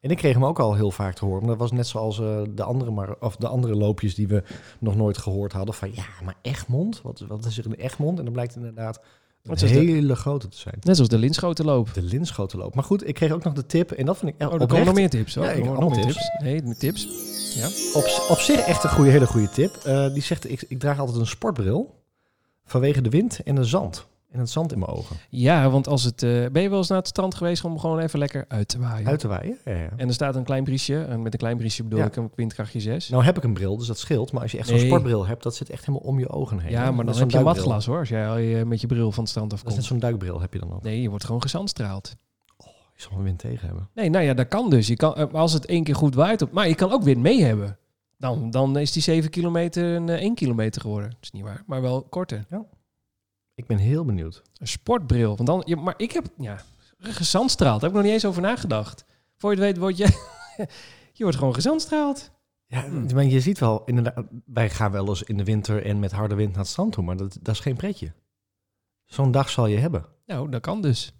En ik kreeg hem ook al heel vaak te horen. Maar dat was net zoals eh, de, andere mar- of de andere loopjes die we nog nooit gehoord hadden. Van ja, maar Egmond? Wat, wat is er in Egmond? En dan blijkt inderdaad Wat een is dat? hele grote te zijn. Net zoals de linschotenloop. De linschotenloop. Maar goed, ik kreeg ook nog de tip. En dat vind ik Oh, echt er komen Nou, nog oprecht meer tips. Hoor. Ja, Er ik- komen nog allemaal meer tips. Nee, de tips. Op, op zich echt een goede, hele goede tip. Eh, die zegt, ik, ik draag altijd een sportbril vanwege de wind en de zand. En het zand in mijn ogen. Ja, want als het, eh, ben je wel eens naar het strand geweest om gewoon even lekker uit te waaien? Uit te waaien. Ja, ja. En er staat een klein briesje. En met een klein briesje bedoel Ja. ik een windkrachtje 6. Nou heb ik een bril, dus dat scheelt. Maar als je echt zo'n Nee. sportbril hebt, dat zit echt helemaal om je ogen heen. ja, Net maar dan Nou, zo'n heb je duikbril. matglas hoor. Als jij al je- met je bril van het strand Dat is net afkomt. zo'n duikbril heb je dan al. Nee, je wordt gewoon gezandstraald. Je zal een wind tegen hebben. Nee, nou ja, dat kan dus. Je kan, eh, als het één keer goed waait, op, maar je kan ook wind mee hebben. Dan, dan is die 7 kilometer een eh, 1 kilometer geworden. Dat is niet waar, maar wel korter. Ik ben heel benieuwd. Een sportbril. Want dan, ja, maar ik heb, ja, gezandstraald. Daar heb ik nog niet eens over nagedacht. Voor je het weet, word je, je wordt gewoon gezandstraald. Ja, Hm. maar je ziet wel, inderdaad, wij gaan wel eens in de winter en met harde wind naar het strand toe. Maar dat, dat is geen pretje. Zo'n dag zal je hebben. Nou, dat kan dus.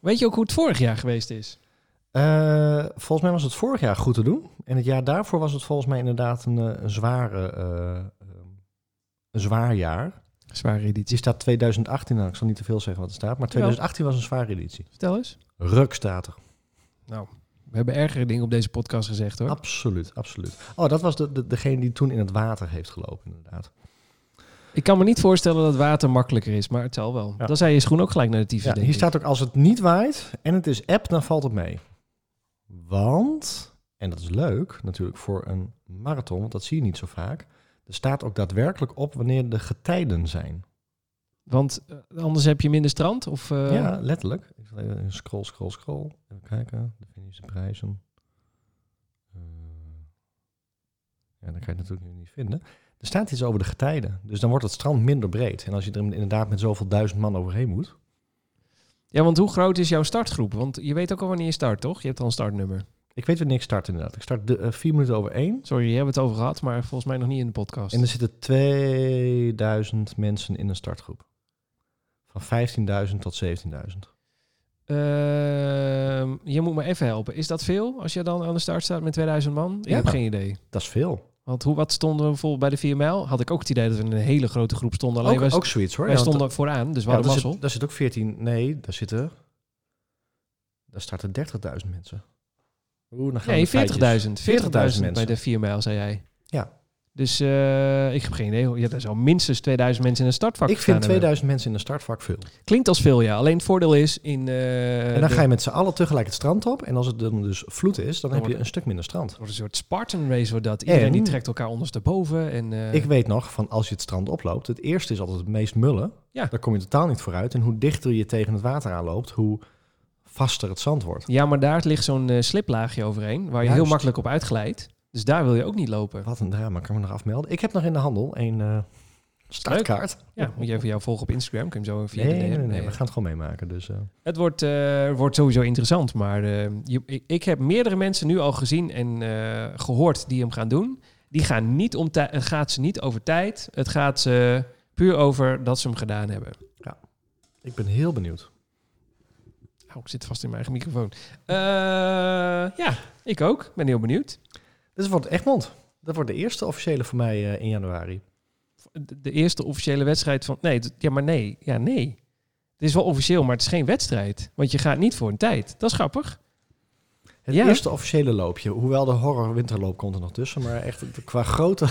Weet je ook hoe het vorig jaar geweest is? Eh, volgens mij was het vorig jaar goed te doen. En het jaar daarvoor was het volgens mij inderdaad een, eh, een, zware, eh, ehm, een zwaar jaar. Zware editie. Die staat 2018 aan. Ik zal niet te veel zeggen wat er staat. Maar 2018 was een zware editie. Vertel eens. Ruk staat er. We hebben ergere dingen op deze podcast gezegd hoor. Absoluut, absoluut. Oh, dat was de, de, degene die toen in het water heeft gelopen, inderdaad. Ik kan me niet voorstellen dat water makkelijker is, maar het zal wel. Ja. Dan zei je schoen ook gelijk naar de tyfus, Ja, denk hier ik. staat ook, als het niet waait en het is app, dan valt het mee. Want, en dat is leuk natuurlijk voor een marathon, want dat zie je niet zo vaak. Er staat ook daadwerkelijk op wanneer de getijden zijn. Want eh, anders heb je minder strand? Of, eh, ja, letterlijk. Ik zal even scroll, scroll, scroll. Even kijken. De Finnische prijzen. Eh, ja, dan kan je het natuurlijk nu niet vinden. Er staat iets over de getijden. Dus dan wordt het strand minder breed. En als je er inderdaad met zoveel duizend man overheen moet. ja, want hoe groot is jouw startgroep? Want je weet ook al wanneer je start, toch? Je hebt al een startnummer. Ik weet wanneer ik start inderdaad. Ik start de, eh, vier minuten over één. Sorry, je hebt het over gehad, maar volgens mij nog niet in de podcast. En er zitten 2000 mensen in een startgroep. Van 15.000 tot 17.000. Ehm, je moet me even helpen. Is dat veel als je dan aan de start staat met 2000 man? Ik Ja. heb geen idee. Dat is veel. Want hoe, wat stonden we bijvoorbeeld bij de 4 mijl? Had ik ook het idee dat we in een hele grote groep stonden. Alleen Ook, wij, ook zoiets hoor. wij Ja, want- stonden vooraan, dus we Ja, hadden daar, mazzel. zit, daar zit ook 14. Nee, daar zitten. Daar starten 30.000 mensen. Oeh, dan gaan Nee, we feitjes. 40.000. 40.000 mensen. bij de 4 mijl, zei jij. Ja. Dus eh, ik heb geen idee. Ja, er is al minstens 2000 mensen in een startvak Ik gestaan vind hebben. 2000 mensen in een startvak veel. Klinkt als veel, ja. Alleen het voordeel is in... eh, en dan de- ga je met z'n allen tegelijk het strand op. En als het dan dus vloed is, Dan dan heb je wordt- een stuk minder strand. Het wordt een soort Spartan race wordt dat. Iedereen En- die trekt elkaar ondersteboven. En, eh, Ik weet nog van als je het strand oploopt, het eerste is altijd het meest mullen. Ja. Daar kom je totaal niet vooruit. En hoe dichter je tegen het water aanloopt, hoe vaster het zand wordt. Ja, maar daar ligt zo'n eh, sliplaagje overheen, waar je Juist. heel makkelijk op uitglijdt. Dus daar wil je ook niet lopen. Wat een drama, kan ik me nog afmelden. Ik heb nog in de handel een eh startkaart. Ja, moet je even jou volgen op Instagram, kun je hem zo via Nee, de nee, nee, DM. nee, Nee. we gaan het gewoon meemaken. Dus, eh, Het wordt, eh, wordt sowieso interessant, maar eh, je- ik, ik heb meerdere mensen nu al gezien en eh, gehoord die hem gaan doen. Die gaan niet om tij- het gaat ze niet over tijd, het gaat ze puur over dat ze hem gedaan hebben. ik ben heel benieuwd. Oh, ik zit vast in mijn eigen microfoon. Eh, ja, ik ook. Ben heel benieuwd. Dit wordt Egmond. Dat wordt de eerste officiële voor mij eh, in januari. De de eerste officiële wedstrijd van... Nee, het- ja, maar nee. Ja, nee. Het is wel officieel, maar het is geen wedstrijd. Want je gaat niet voor een tijd. Dat is grappig. Het Ja. eerste officiële loopje. Hoewel de horror winterloop komt er nog tussen. Maar echt qua grote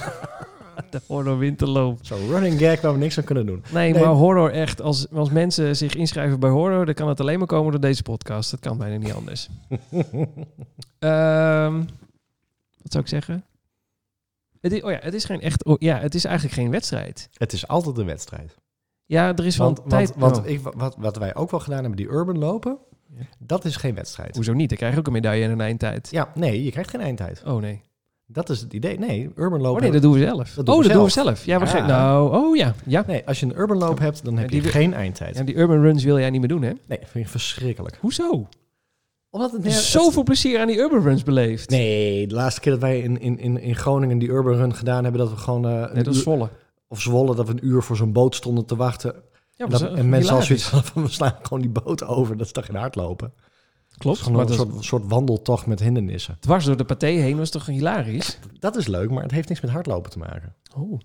De horror winterloop. zo running gag waar we niks aan kunnen doen. Nee, Nee. maar horror echt. Als, als mensen zich inschrijven bij horror... dan kan het alleen maar komen door deze podcast. Dat kan bijna niet anders. Ehm, wat zou ik zeggen? Het is, oh ja, het is, geen echt, oh, ja, het is eigenlijk geen wedstrijd. Het is altijd een wedstrijd. Ja, er is wel Want, een tijd... want, want oh, ik, wat, wat wij ook wel gedaan hebben, die urban lopen, Ja. dat is geen wedstrijd. Hoezo niet? Dan krijg je ook een medaille en een eindtijd. Ja, nee, je krijgt geen eindtijd. Oh nee. Dat is het idee. Nee, urban lopen. Oh nee, dat doen we zelf. Dat doen oh, we dat doen we zelf. Ja, we Ja. gaan. Nou, oh ja. ja. Nee, als je een urban loop hebt, dan heb Die je wil- geen eindtijd. En die urban runs wil jij niet meer doen, hè? Nee, vind ik verschrikkelijk. Hoezo? Omdat het Er is Zoveel plezier aan die urban runs beleefd. Nee, de laatste keer dat wij in, in, in, in Groningen die urban run gedaan hebben, dat we gewoon eh, een Net als uur- Zwolle. of Zwolle, dat we een uur voor zo'n boot stonden te wachten. Ja, en, was, dat- eh, en mensen al hilarisch. zoiets hadden van, we slaan gewoon die boot over. Dat is toch geen hardlopen? Dat is Klopt, gewoon maar een dat soort, soort wandeltocht met hindernissen. dwars door de paté heen was toch hilarisch? Dat is leuk, maar het heeft niks met hardlopen te maken. Oh.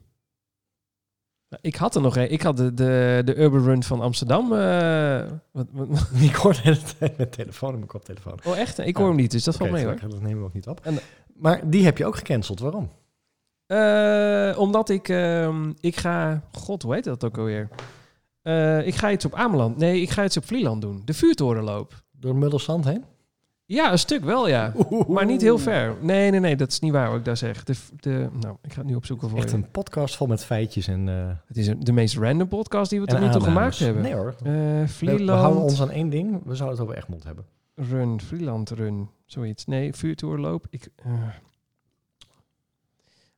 Nou, Ik had er nog een. Ik had de, de, de urban run van Amsterdam. eh, wat, wat- Ik hoor de hele tijd mijn telefoon en mijn koptelefoon. oh, echt? Ik hoor hem niet, dus dat valt Oké, mee hoor. dat nemen we ook niet op. En- maar die heb je ook gecanceld. Waarom? Eh, omdat ik, ehm, ik ga, god, hoe heet dat ook alweer? Eh, ik ga iets op Ameland. Nee, ik ga iets op Vlieland doen. De vuurtorenloop. Door Muddelsand heen? Ja, een stuk wel, ja. Maar niet heel ver. Nee, nee, nee, dat is niet waar wat ik daar zeg. De, v- de, nou, ik ga het nu opzoeken voor Echt je. een podcast vol met feitjes en, eh en Het is een- de meest random podcast die we tot nu toe aannames. gemaakt hebben. Nee hoor. Eh, We, we houden Vlieland ons aan één ding. We zouden het over Egmond hebben. run, Vlieland run, zoiets. Nee, vuurtorenloop. Ik, eh.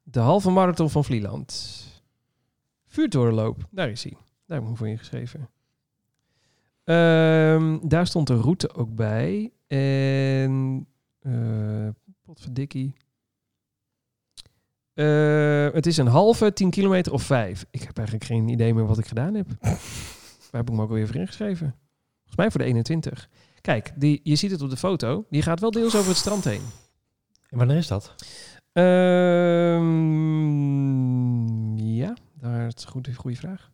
De halve marathon van Vlieland. Vuurtorenloop, daar is hij. Daar heb ik me voor ingeschreven. Ehm, daar stond de route ook bij. En eh potverdikkie. Eh, het is een halve, 10 kilometer of vijf. Ik heb eigenlijk geen idee meer wat ik gedaan heb. Waar heb ik me ook alweer voor ingeschreven? Volgens mij voor de 21. Kijk, die, je ziet het op de foto. Die gaat wel deels over het strand heen. En wanneer is dat? Ehm, ja, daar is een goede, goede vraag.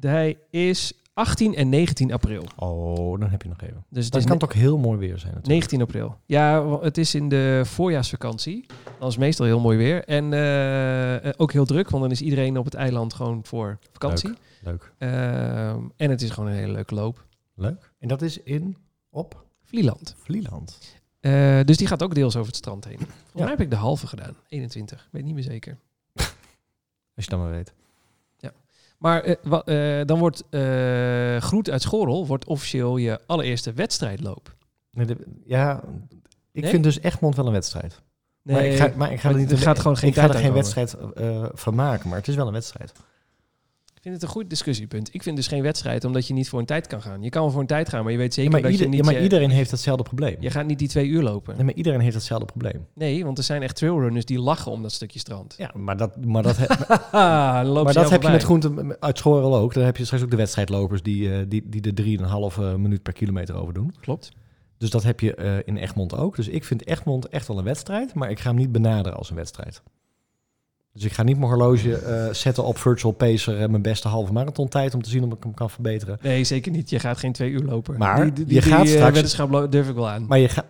Hij is 18 en 19 april. Oh, dan heb je nog even. Dus het Dat is kan ne- toch heel mooi weer zijn natuurlijk. 19 april. Ja, wa- het is in de voorjaarsvakantie. Dan is het meestal heel mooi weer. En eh, eh, ook heel druk, want dan is iedereen op het eiland gewoon voor vakantie. Leuk. Ehm, en het is gewoon een hele leuke loop. Leuk. En dat is in, op, Vlieland. Vlieland. Eh, dus die gaat ook deels over het strand heen. Volgens Ja. mij heb ik de halve gedaan. 21, weet niet meer zeker. Als je dat maar weet. Maar eh, wa- eh, dan wordt eh, Groet uit Schorl wordt officieel je allereerste wedstrijdloop. Nee, de- ja, ik Nee? vind dus Egmond wel een wedstrijd. Nee, maar ik ga, maar ik ga er, niet er gaat gewoon geen ik ga er tijd geen aan wedstrijd eh, van maken, maar het is wel een wedstrijd. ik vind het een goed discussiepunt. Ik vind dus geen wedstrijd, omdat je niet voor een tijd kan gaan. Je kan wel voor een tijd gaan, maar je weet Ja, zeker maar, dat ieder- je niet... ja, maar je, iedereen heeft hetzelfde probleem. je gaat niet die twee uur lopen. Nee, maar iedereen heeft hetzelfde probleem. Nee, want er zijn echt trailrunners die lachen om dat stukje strand. Ja, maar dat, maar dat, he- Haha, dan lopen maar ze dat jou heb Ah, je voorbij. met groente uit Schorel ook. Dan heb je straks ook de wedstrijdlopers die, eh, die, die de drieënhalf eh, minuut per kilometer over doen. Klopt. Dus dat heb je eh, in Egmond ook. Dus ik vind Egmond echt wel een wedstrijd, maar ik ga hem niet benaderen als een wedstrijd. Dus ik ga niet mijn horloge eh, zetten op Virtual Pacer en mijn beste halve marathon tijd om te zien of ik hem kan verbeteren. Nee, zeker niet. Je gaat geen twee uur lopen. Maar die, die, je gaat die, eh, straks- weddenschap lo- durf ik wel aan. Maar je gaat...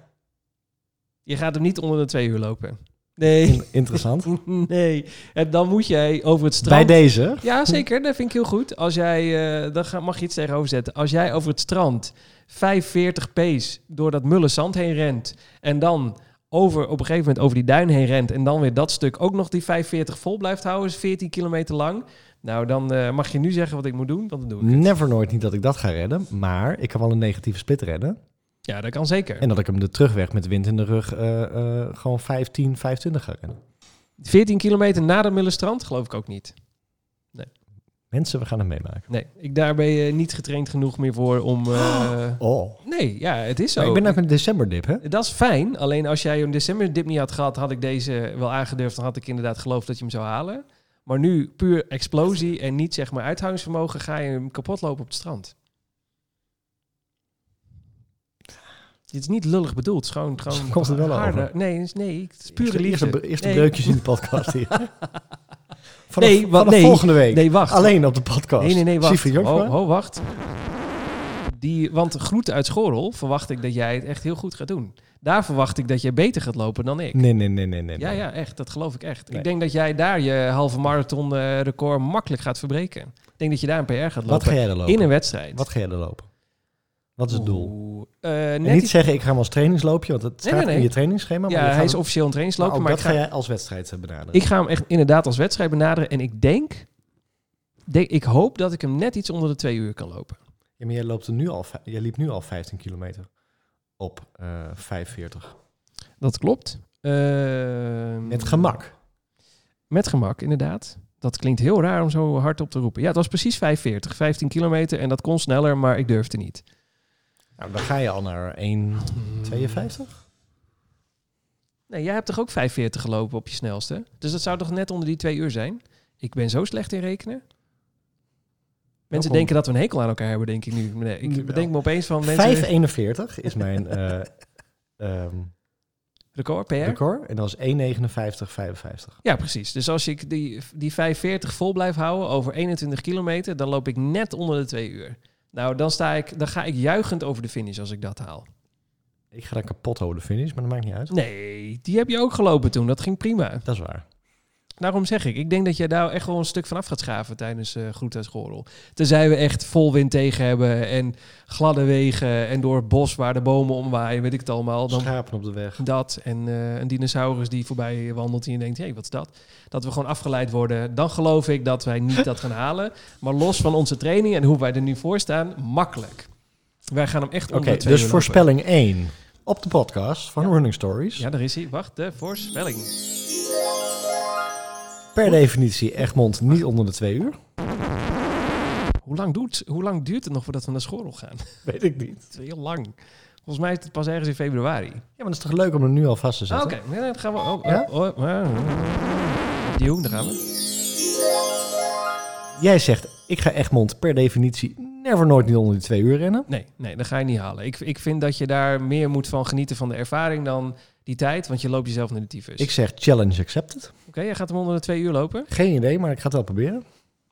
Je gaat hem niet onder de twee uur lopen. Nee. in- Interessant. Nee. En dan moet jij over het Bij strand... deze... Ja, zeker. Dat vind ik heel goed. Als jij, eh, dan ga- mag je iets tegenover zetten. Als jij over het strand 45 pace door dat mulle zand heen rent... en dan over, op een gegeven moment over die duin heen rent... en dan weer dat stuk ook nog die 45 vol blijft houden... is 14 kilometer lang. Nou, dan eh, mag je nu zeggen wat ik moet doen, want dan doe ik het. Never nooit niet dat ik dat ga redden, maar ik kan wel een negatieve split redden. Ja, dat kan zeker. En dat ik hem de terugweg met wind in de rug eh, eh, gewoon 15, 25 ga rennen. 14 kilometer na dat mulle strand geloof ik ook niet. Mensen, we gaan het meemaken. Nee, ik, daar ben je niet getraind genoeg meer voor om... eh, Oh. Nee, ja, het is zo. ik ben nou uit mijn decemberdip, hè? Dat is fijn. Alleen als jij een decemberdip niet had gehad, had ik deze wel aangedurfd. Dan had ik inderdaad geloofd dat je hem zou halen. Maar nu puur explosie en niet zeg maar uithoudingsvermogen ga je hem kapot lopen op het strand. Dit is niet lullig bedoeld. Het is gewoon, gewoon Komt het wel harde- over. Nee, het is- nee, het is pure Eerst liefde. de- Eerst de, eerst de Nee. breukjes in de podcast hier. Vanaf, Nee, wat- vanaf nee. volgende week. Nee, wacht. Alleen op de podcast. Nee, nee, nee, wacht. Siegfried Jongsma. Ho, ho, wacht. Die, want groeten uit Schorl verwacht ik dat jij het echt heel goed gaat doen. Daar verwacht ik dat je beter gaat lopen dan ik. Nee, nee, nee, nee, nee. Ja, nee. ja, echt. Dat geloof ik echt. Nee. Ik denk dat jij daar je halve marathon eh, record makkelijk gaat verbreken. Ik denk dat je daar een PR gaat Wat lopen. ga jij er lopen? In een wedstrijd. Wat ga jij er lopen? Wat is het doel? Oeh, eh, En net niet iets- zeggen, ik ga hem als trainingsloopje, want het Nee, staat nee, nee. in je trainingsschema. maar ja, je gaat hij is hem- officieel een maar trainingsloper, ook maar ik dat ga, ga, jij als wedstrijd eh, benaderen. ik ga hem echt inderdaad als wedstrijd benaderen. En ik denk, denk, ik hoop dat ik hem net iets onder de twee uur kan lopen. Ja, maar jij, loopt er nu al, vij- jij liep nu al 15 kilometer op eh Mm. 45. Dat klopt. Ehm, Met gemak. Met gemak, inderdaad. Dat klinkt heel raar om zo hard op te roepen. Ja, het was precies 45, 15 kilometer en dat kon sneller, maar ik durfde niet. Nou, dan ga je al naar 1,52. Nee, jij hebt toch ook 45 gelopen op je snelste? Dus dat zou toch net onder die twee uur zijn? Ik ben zo slecht in rekenen. Mensen Welkom. denken dat we een hekel aan elkaar hebben, denk ik nu. Nee, Nu wel. ik bedenk me opeens van mensen... 5,41 is mijn eh ehm, record, PR? record. En dat is 1,59,55. Ja, precies. Dus als ik die, die 45 vol blijf houden over 21 kilometer, dan loop ik net onder de twee uur. Nou, dan, sta ik, dan ga ik juichend over de finish als ik dat haal. Ik ga dan kapot houden de finish, maar dat maakt niet uit. Nee, die heb je ook gelopen toen. Dat ging prima. Dat is waar. Daarom zeg ik, ik denk dat jij daar echt wel een stuk vanaf gaat schaven tijdens eh Groet uit Schorl. Tenzij we echt vol wind tegen hebben en gladde wegen en door het bos waar de bomen omwaaien, weet ik het allemaal. Dan Schapen op de weg. dat en eh, een dinosaurus die voorbij wandelt en je denkt, hé, hey, wat is dat? Dat we gewoon afgeleid worden. Dan geloof ik dat wij niet dat gaan halen. Maar los van onze training en hoe wij er nu voor staan, makkelijk. Wij gaan hem echt Oké, onder de twee dus uur lopen. voorspelling 1 op de podcast van Ja. Running Stories. Ja, daar is hij. Wacht, de voorspelling. Per definitie Egmond niet onder de twee uur. Hoe lang, doet, hoe lang duurt het nog voordat we naar Schorl gaan? Weet ik niet. Het is heel lang. Volgens mij is het pas ergens in februari. Ja, maar dat is toch leuk om er nu al vast te Ah, zetten? Oké, nee, dan gaan we. Oh, Ja? oh, oh, oh. Opnieuw, daar gaan we. Jij zegt, ik ga Egmond per definitie never nooit niet onder die twee uur rennen. Nee, nee, dat ga je niet halen. Ik, ik vind dat je daar meer moet van genieten van de ervaring dan die tijd, want je loopt jezelf naar de tyfus. Ik zeg challenge accepted. Oké, jij gaat hem onder de twee uur lopen? Geen idee, maar ik ga het wel proberen.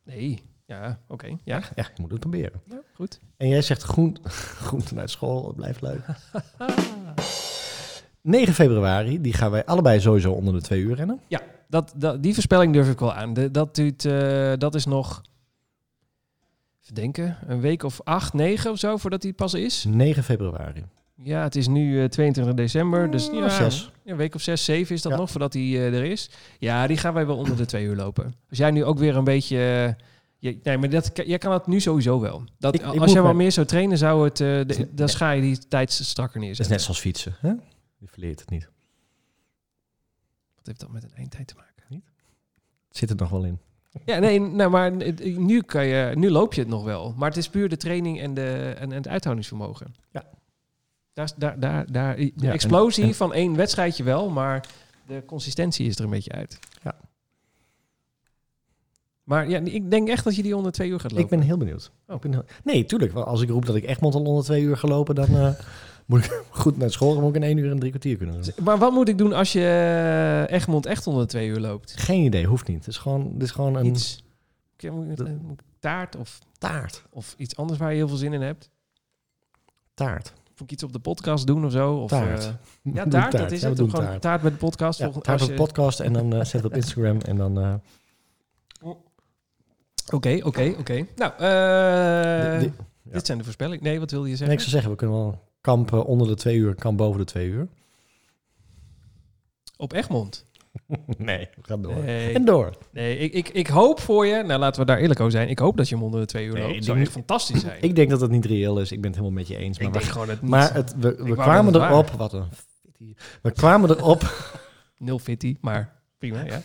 Nee. Ja, oké. Ja, Ja, je moet het proberen. ja, goed. En jij zegt groen, groenten uit school, het blijft leuk. 9 februari, die gaan wij allebei sowieso onder de twee uur rennen. Dat, dat, die voorspelling durf ik wel aan. De, dat, duurt, eh, dat is nog. Even denken, een week of acht, negen of zo voordat die pas is. Dus 9 februari. Ja, het is nu eh, 22 december, dus Mm, ja, of zes. ja, een week of zes, zeven is dat Ja. nog voordat die eh, er is. Ja, die gaan wij wel onder de twee uur lopen. Als jij nu ook weer een beetje... eh, je- nee, maar dat, jij kan dat nu sowieso wel. Dat, Ik- ik moet als jij wel mijn- meer zou trainen, zou het, eh, de- is net- dan ga je die tijd strakker Dat is neerzetten. net zoals fietsen. Hè? Je verleert het niet. Wat heeft dat met een eindtijd te maken? Het zit er nog wel in. Ja, nee, nou, maar nu, kan je, nu loop je het nog wel. Maar het is puur de training en, de, en, en het uithoudingsvermogen. Ja. Daar, is- daar, daar, daar, de Ja, en- explosie en- van één wedstrijdje wel, maar de consistentie is er een beetje uit. Ja. Maar ja, ik denk echt dat je die onder twee uur gaat lopen. Ik ben heel benieuwd. Oh. Ik ben heel- Nee, tuurlijk. wel, Als ik roep dat ik Egmond al onder twee uur gelopen, dan, eh, Moet ik goed naar school, dan moet ik in één uur en drie kwartier kunnen doen. Maar wat moet ik doen als je eh, Egmond echt onder de twee uur loopt? Geen idee, hoeft niet. Het is gewoon, het is gewoon een Iets. Ik- Moet ik- moet ik taart of, taart. of iets anders waar je heel veel zin in hebt? Taart. Moet ik iets op de podcast doen of zo? Of, Taart. eh, We ja, doen taart, dat is Ja, we het. doen Ook Gewoon taart. taart. met de podcast. Ja, Volgende- taart als op je- podcast en dan eh, zet op Instagram en dan... eh, Oké, oké, oké. Nou, di- eh, di- ja. dit zijn de voorspellingen. Nee, wat wilde je nee, zeggen? ik zou zeggen, we kunnen wel kamp eh, onder de twee uur, kamp boven de twee uur. Op Egmond. nee, we gaan door. Nee. En door. Nee, ik, ik, ik hoop voor je. Nou, laten we daar eerlijk over zijn. Ik hoop dat je hem onder de twee uur Nee, loopt. ik Het zou denk- echt fantastisch zijn. Ik denk dat het niet reëel is. Ik ben het helemaal met je eens. Maar, Ik we- denk gewoon het niet. maar het, we, we wou kwamen dat het erop... Wat een... fitty. We kwamen erop Nul fitty, maar prima, ja.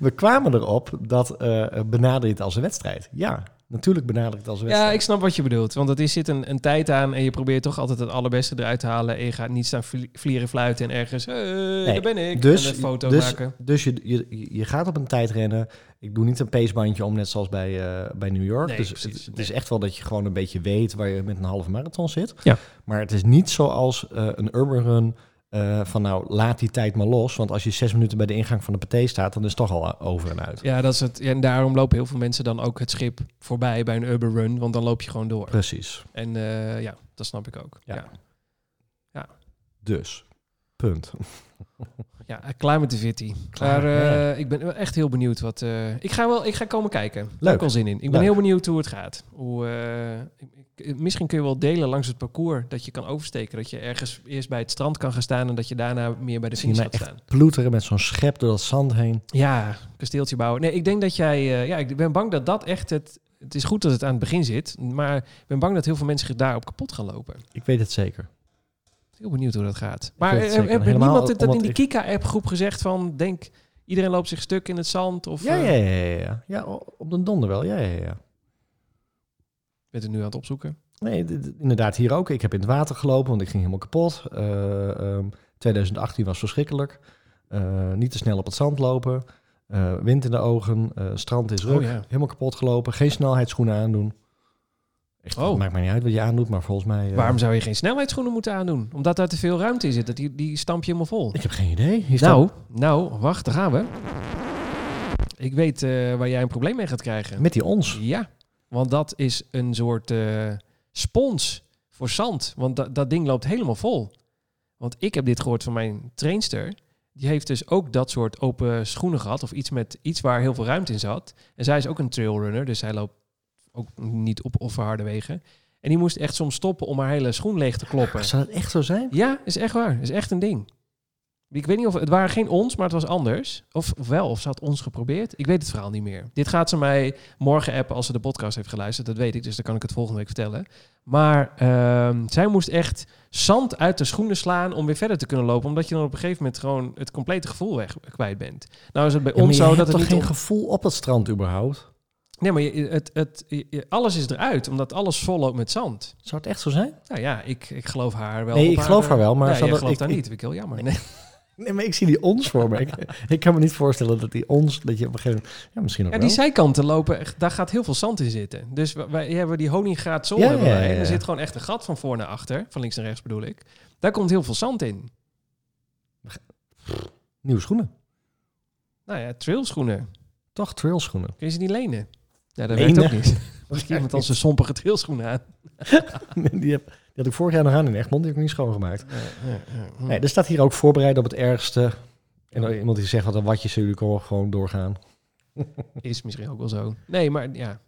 We kwamen erop dat eh benader je het als een wedstrijd. Ja, natuurlijk benader je het als een Ja, wedstrijd. ik snap wat je bedoelt. Want het is, zit een, een tijd aan en je probeert toch altijd het allerbeste eruit te halen. En je gaat niet staan vlie- vlieren fluiten en ergens, "Hey, daar ben ik. en een foto dus, maken. Dus je, je, je gaat op een tijd rennen. Ik doe niet een pacebandje om, net zoals bij, eh, bij New York. Nee, dus precies, het, het nee. is echt wel dat je gewoon een beetje weet waar je met een halve marathon zit. Ja. Maar het is niet zoals eh, een urban run eh, van nou, laat die tijd maar los. Want als je zes minuten bij de ingang van de paté staat, dan is het toch al eh, over en uit. Ja, dat is het. Ja, en daarom lopen heel veel mensen dan ook het schip voorbij bij een urban run. Want dan loop je gewoon door. Precies. En eh, ja, dat snap ik ook. Ja, Ja. ja. Dus, punt. climate fitty. Klaar, Maar eh, ik ben wel echt heel benieuwd wat... eh, ik, ga wel, ik ga komen kijken. Daar heb Leuk. ik al zin in. Ik ben Leuk. heel benieuwd hoe het gaat. Hoe, eh, ik- ik- misschien kun je wel delen langs het parcours dat je kan oversteken. Dat je ergens eerst bij het strand kan gaan staan en dat je daarna meer bij de Zie je finish mij gaat echt staan. ploeteren met zo'n schep door dat zand heen. Ja, kasteeltje bouwen. Nee, ik denk dat jij... eh, ja, ik ben bang dat dat echt het... Het is goed dat het aan het begin zit, maar ik ben bang dat heel veel mensen zich daarop kapot gaan lopen. Ik weet het zeker. Heel benieuwd hoe dat gaat. Maar weet het eh, zeker. heb Helemaal niemand het dat in omdat die ik- Kika-app-groep gezegd van... denk, iedereen loopt zich stuk in het zand? Of Ja, eh, ja, ja, ja, ja. Ja, o- op de donder wel. Ja, ja, ja. bent het nu aan het opzoeken? Nee, d- d- inderdaad, hier ook. Ik heb in het water gelopen, want ik ging helemaal kapot. Eh, ehm, 2018 was verschrikkelijk. Eh, niet te snel op het zand lopen. Eh, wind in de ogen. eh, strand is druk. Oh ja. Helemaal kapot gelopen. Geen snelheidsschoenen aandoen. Echt, Oh. het Maakt mij niet uit wat je aandoet, maar volgens mij... eh, Waarom zou je geen snelheidsschoenen moeten aandoen? Omdat daar te veel ruimte in zit. Dat die, die stamp je helemaal vol. Ik heb geen idee. Hier staat- Nou, nou, wacht, daar gaan we. Ik weet eh, waar jij een probleem mee gaat krijgen. Met die ons. Ja, want dat is een soort eh, spons voor zand. Want da- dat ding loopt helemaal vol. Want ik heb dit gehoord van mijn trainster. Die heeft dus ook dat soort open schoenen gehad. Of iets, met, iets waar heel veel ruimte in zat. En zij is ook een trailrunner. Dus zij loopt ook niet op of harde wegen. En die moest echt soms stoppen om haar hele schoen leeg te kloppen. Zou dat echt zo zijn? Ja, is echt waar. Is echt een ding. Ik weet niet of het waren geen ons, maar het was anders. Of, of wel, of ze had ons geprobeerd. Ik weet het verhaal niet meer. Dit gaat ze mij morgen appen als ze de podcast heeft geluisterd. Dat weet ik, dus dan kan ik het volgende week vertellen. Maar ehm, zij moest echt zand uit de schoenen slaan om weer verder te kunnen lopen. Omdat je dan op een gegeven moment gewoon het complete gevoel weg, kwijt bent. Nou is het bij Ja, maar ons je zo hebt dat het toch niet geen om- gevoel op het strand überhaupt? Nee, maar je, het, het, je- alles is eruit, omdat alles vol loopt met zand. Zou het echt zo zijn? Nou ja, ik, ik geloof haar wel. Nee, op ik geloof haar wel, maar Nee, zou jij dat- gelooft ik- haar ik- niet. Vind ik heel jammer. Nee, maar ik zie die ons voor me. Ik, ik kan me niet voorstellen dat die ons, dat je op een gegeven moment... Ja, misschien ook Ja, wel. die zijkanten lopen, echt- daar gaat heel veel zand in zitten. Dus wa- wij hebben die honingraat zon. Ja, hebben wij. ja, ja, En er ja. zit gewoon echt een gat van voor naar achter. Van links naar rechts bedoel ik. Daar komt heel veel zand in. Nieuwe schoenen. Nou ja, trailschoenen. Toch trailschoenen. Kun je ze niet lenen? Ja, dat Lenen? werkt ook niet. Misschien iemand als een sompige trailschoenen aan. die, heb, die had ik vorig jaar nog aan in Egmond. Die heb ik niet schoongemaakt. Nee, Nee, er staat hier ook voorbereid op het ergste. En dan iemand die zegt wat een watje zullen jullie gewoon- gewoon doorgaan. dat is misschien ook wel zo. Nee, maar ja,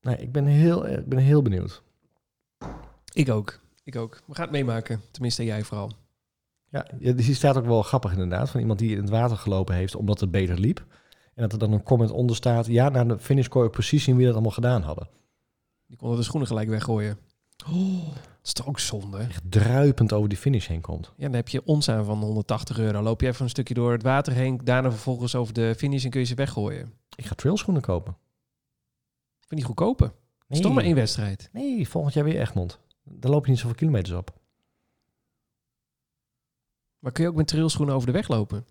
Nee, ik ben heel, eh, ik ben heel benieuwd. ik ook. Ik ook. We gaan het meemaken. Tenminste, jij vooral. Ja, ja, die staat ook wel grappig inderdaad. Van iemand die in het water gelopen heeft omdat het beter liep. En dat er dan een comment onder staat. Ja, na de finish kon je precies zien wie dat allemaal gedaan hadden. Die konden de schoenen gelijk weggooien. Oh. dat is toch ook zonde? Echt druipend over die finish heen komt. Ja, dan heb je ons aan van 180 euro. Loop je even een stukje door het water heen, daarna vervolgens over de finish en kun je ze weggooien. Ik ga trailschoenen kopen. Van die goedkope. Het is toch maar één wedstrijd. Nee, volgend jaar weer Egmond. Daar loop je niet zoveel kilometers op. Maar kun je ook met trailschoenen over de weg lopen?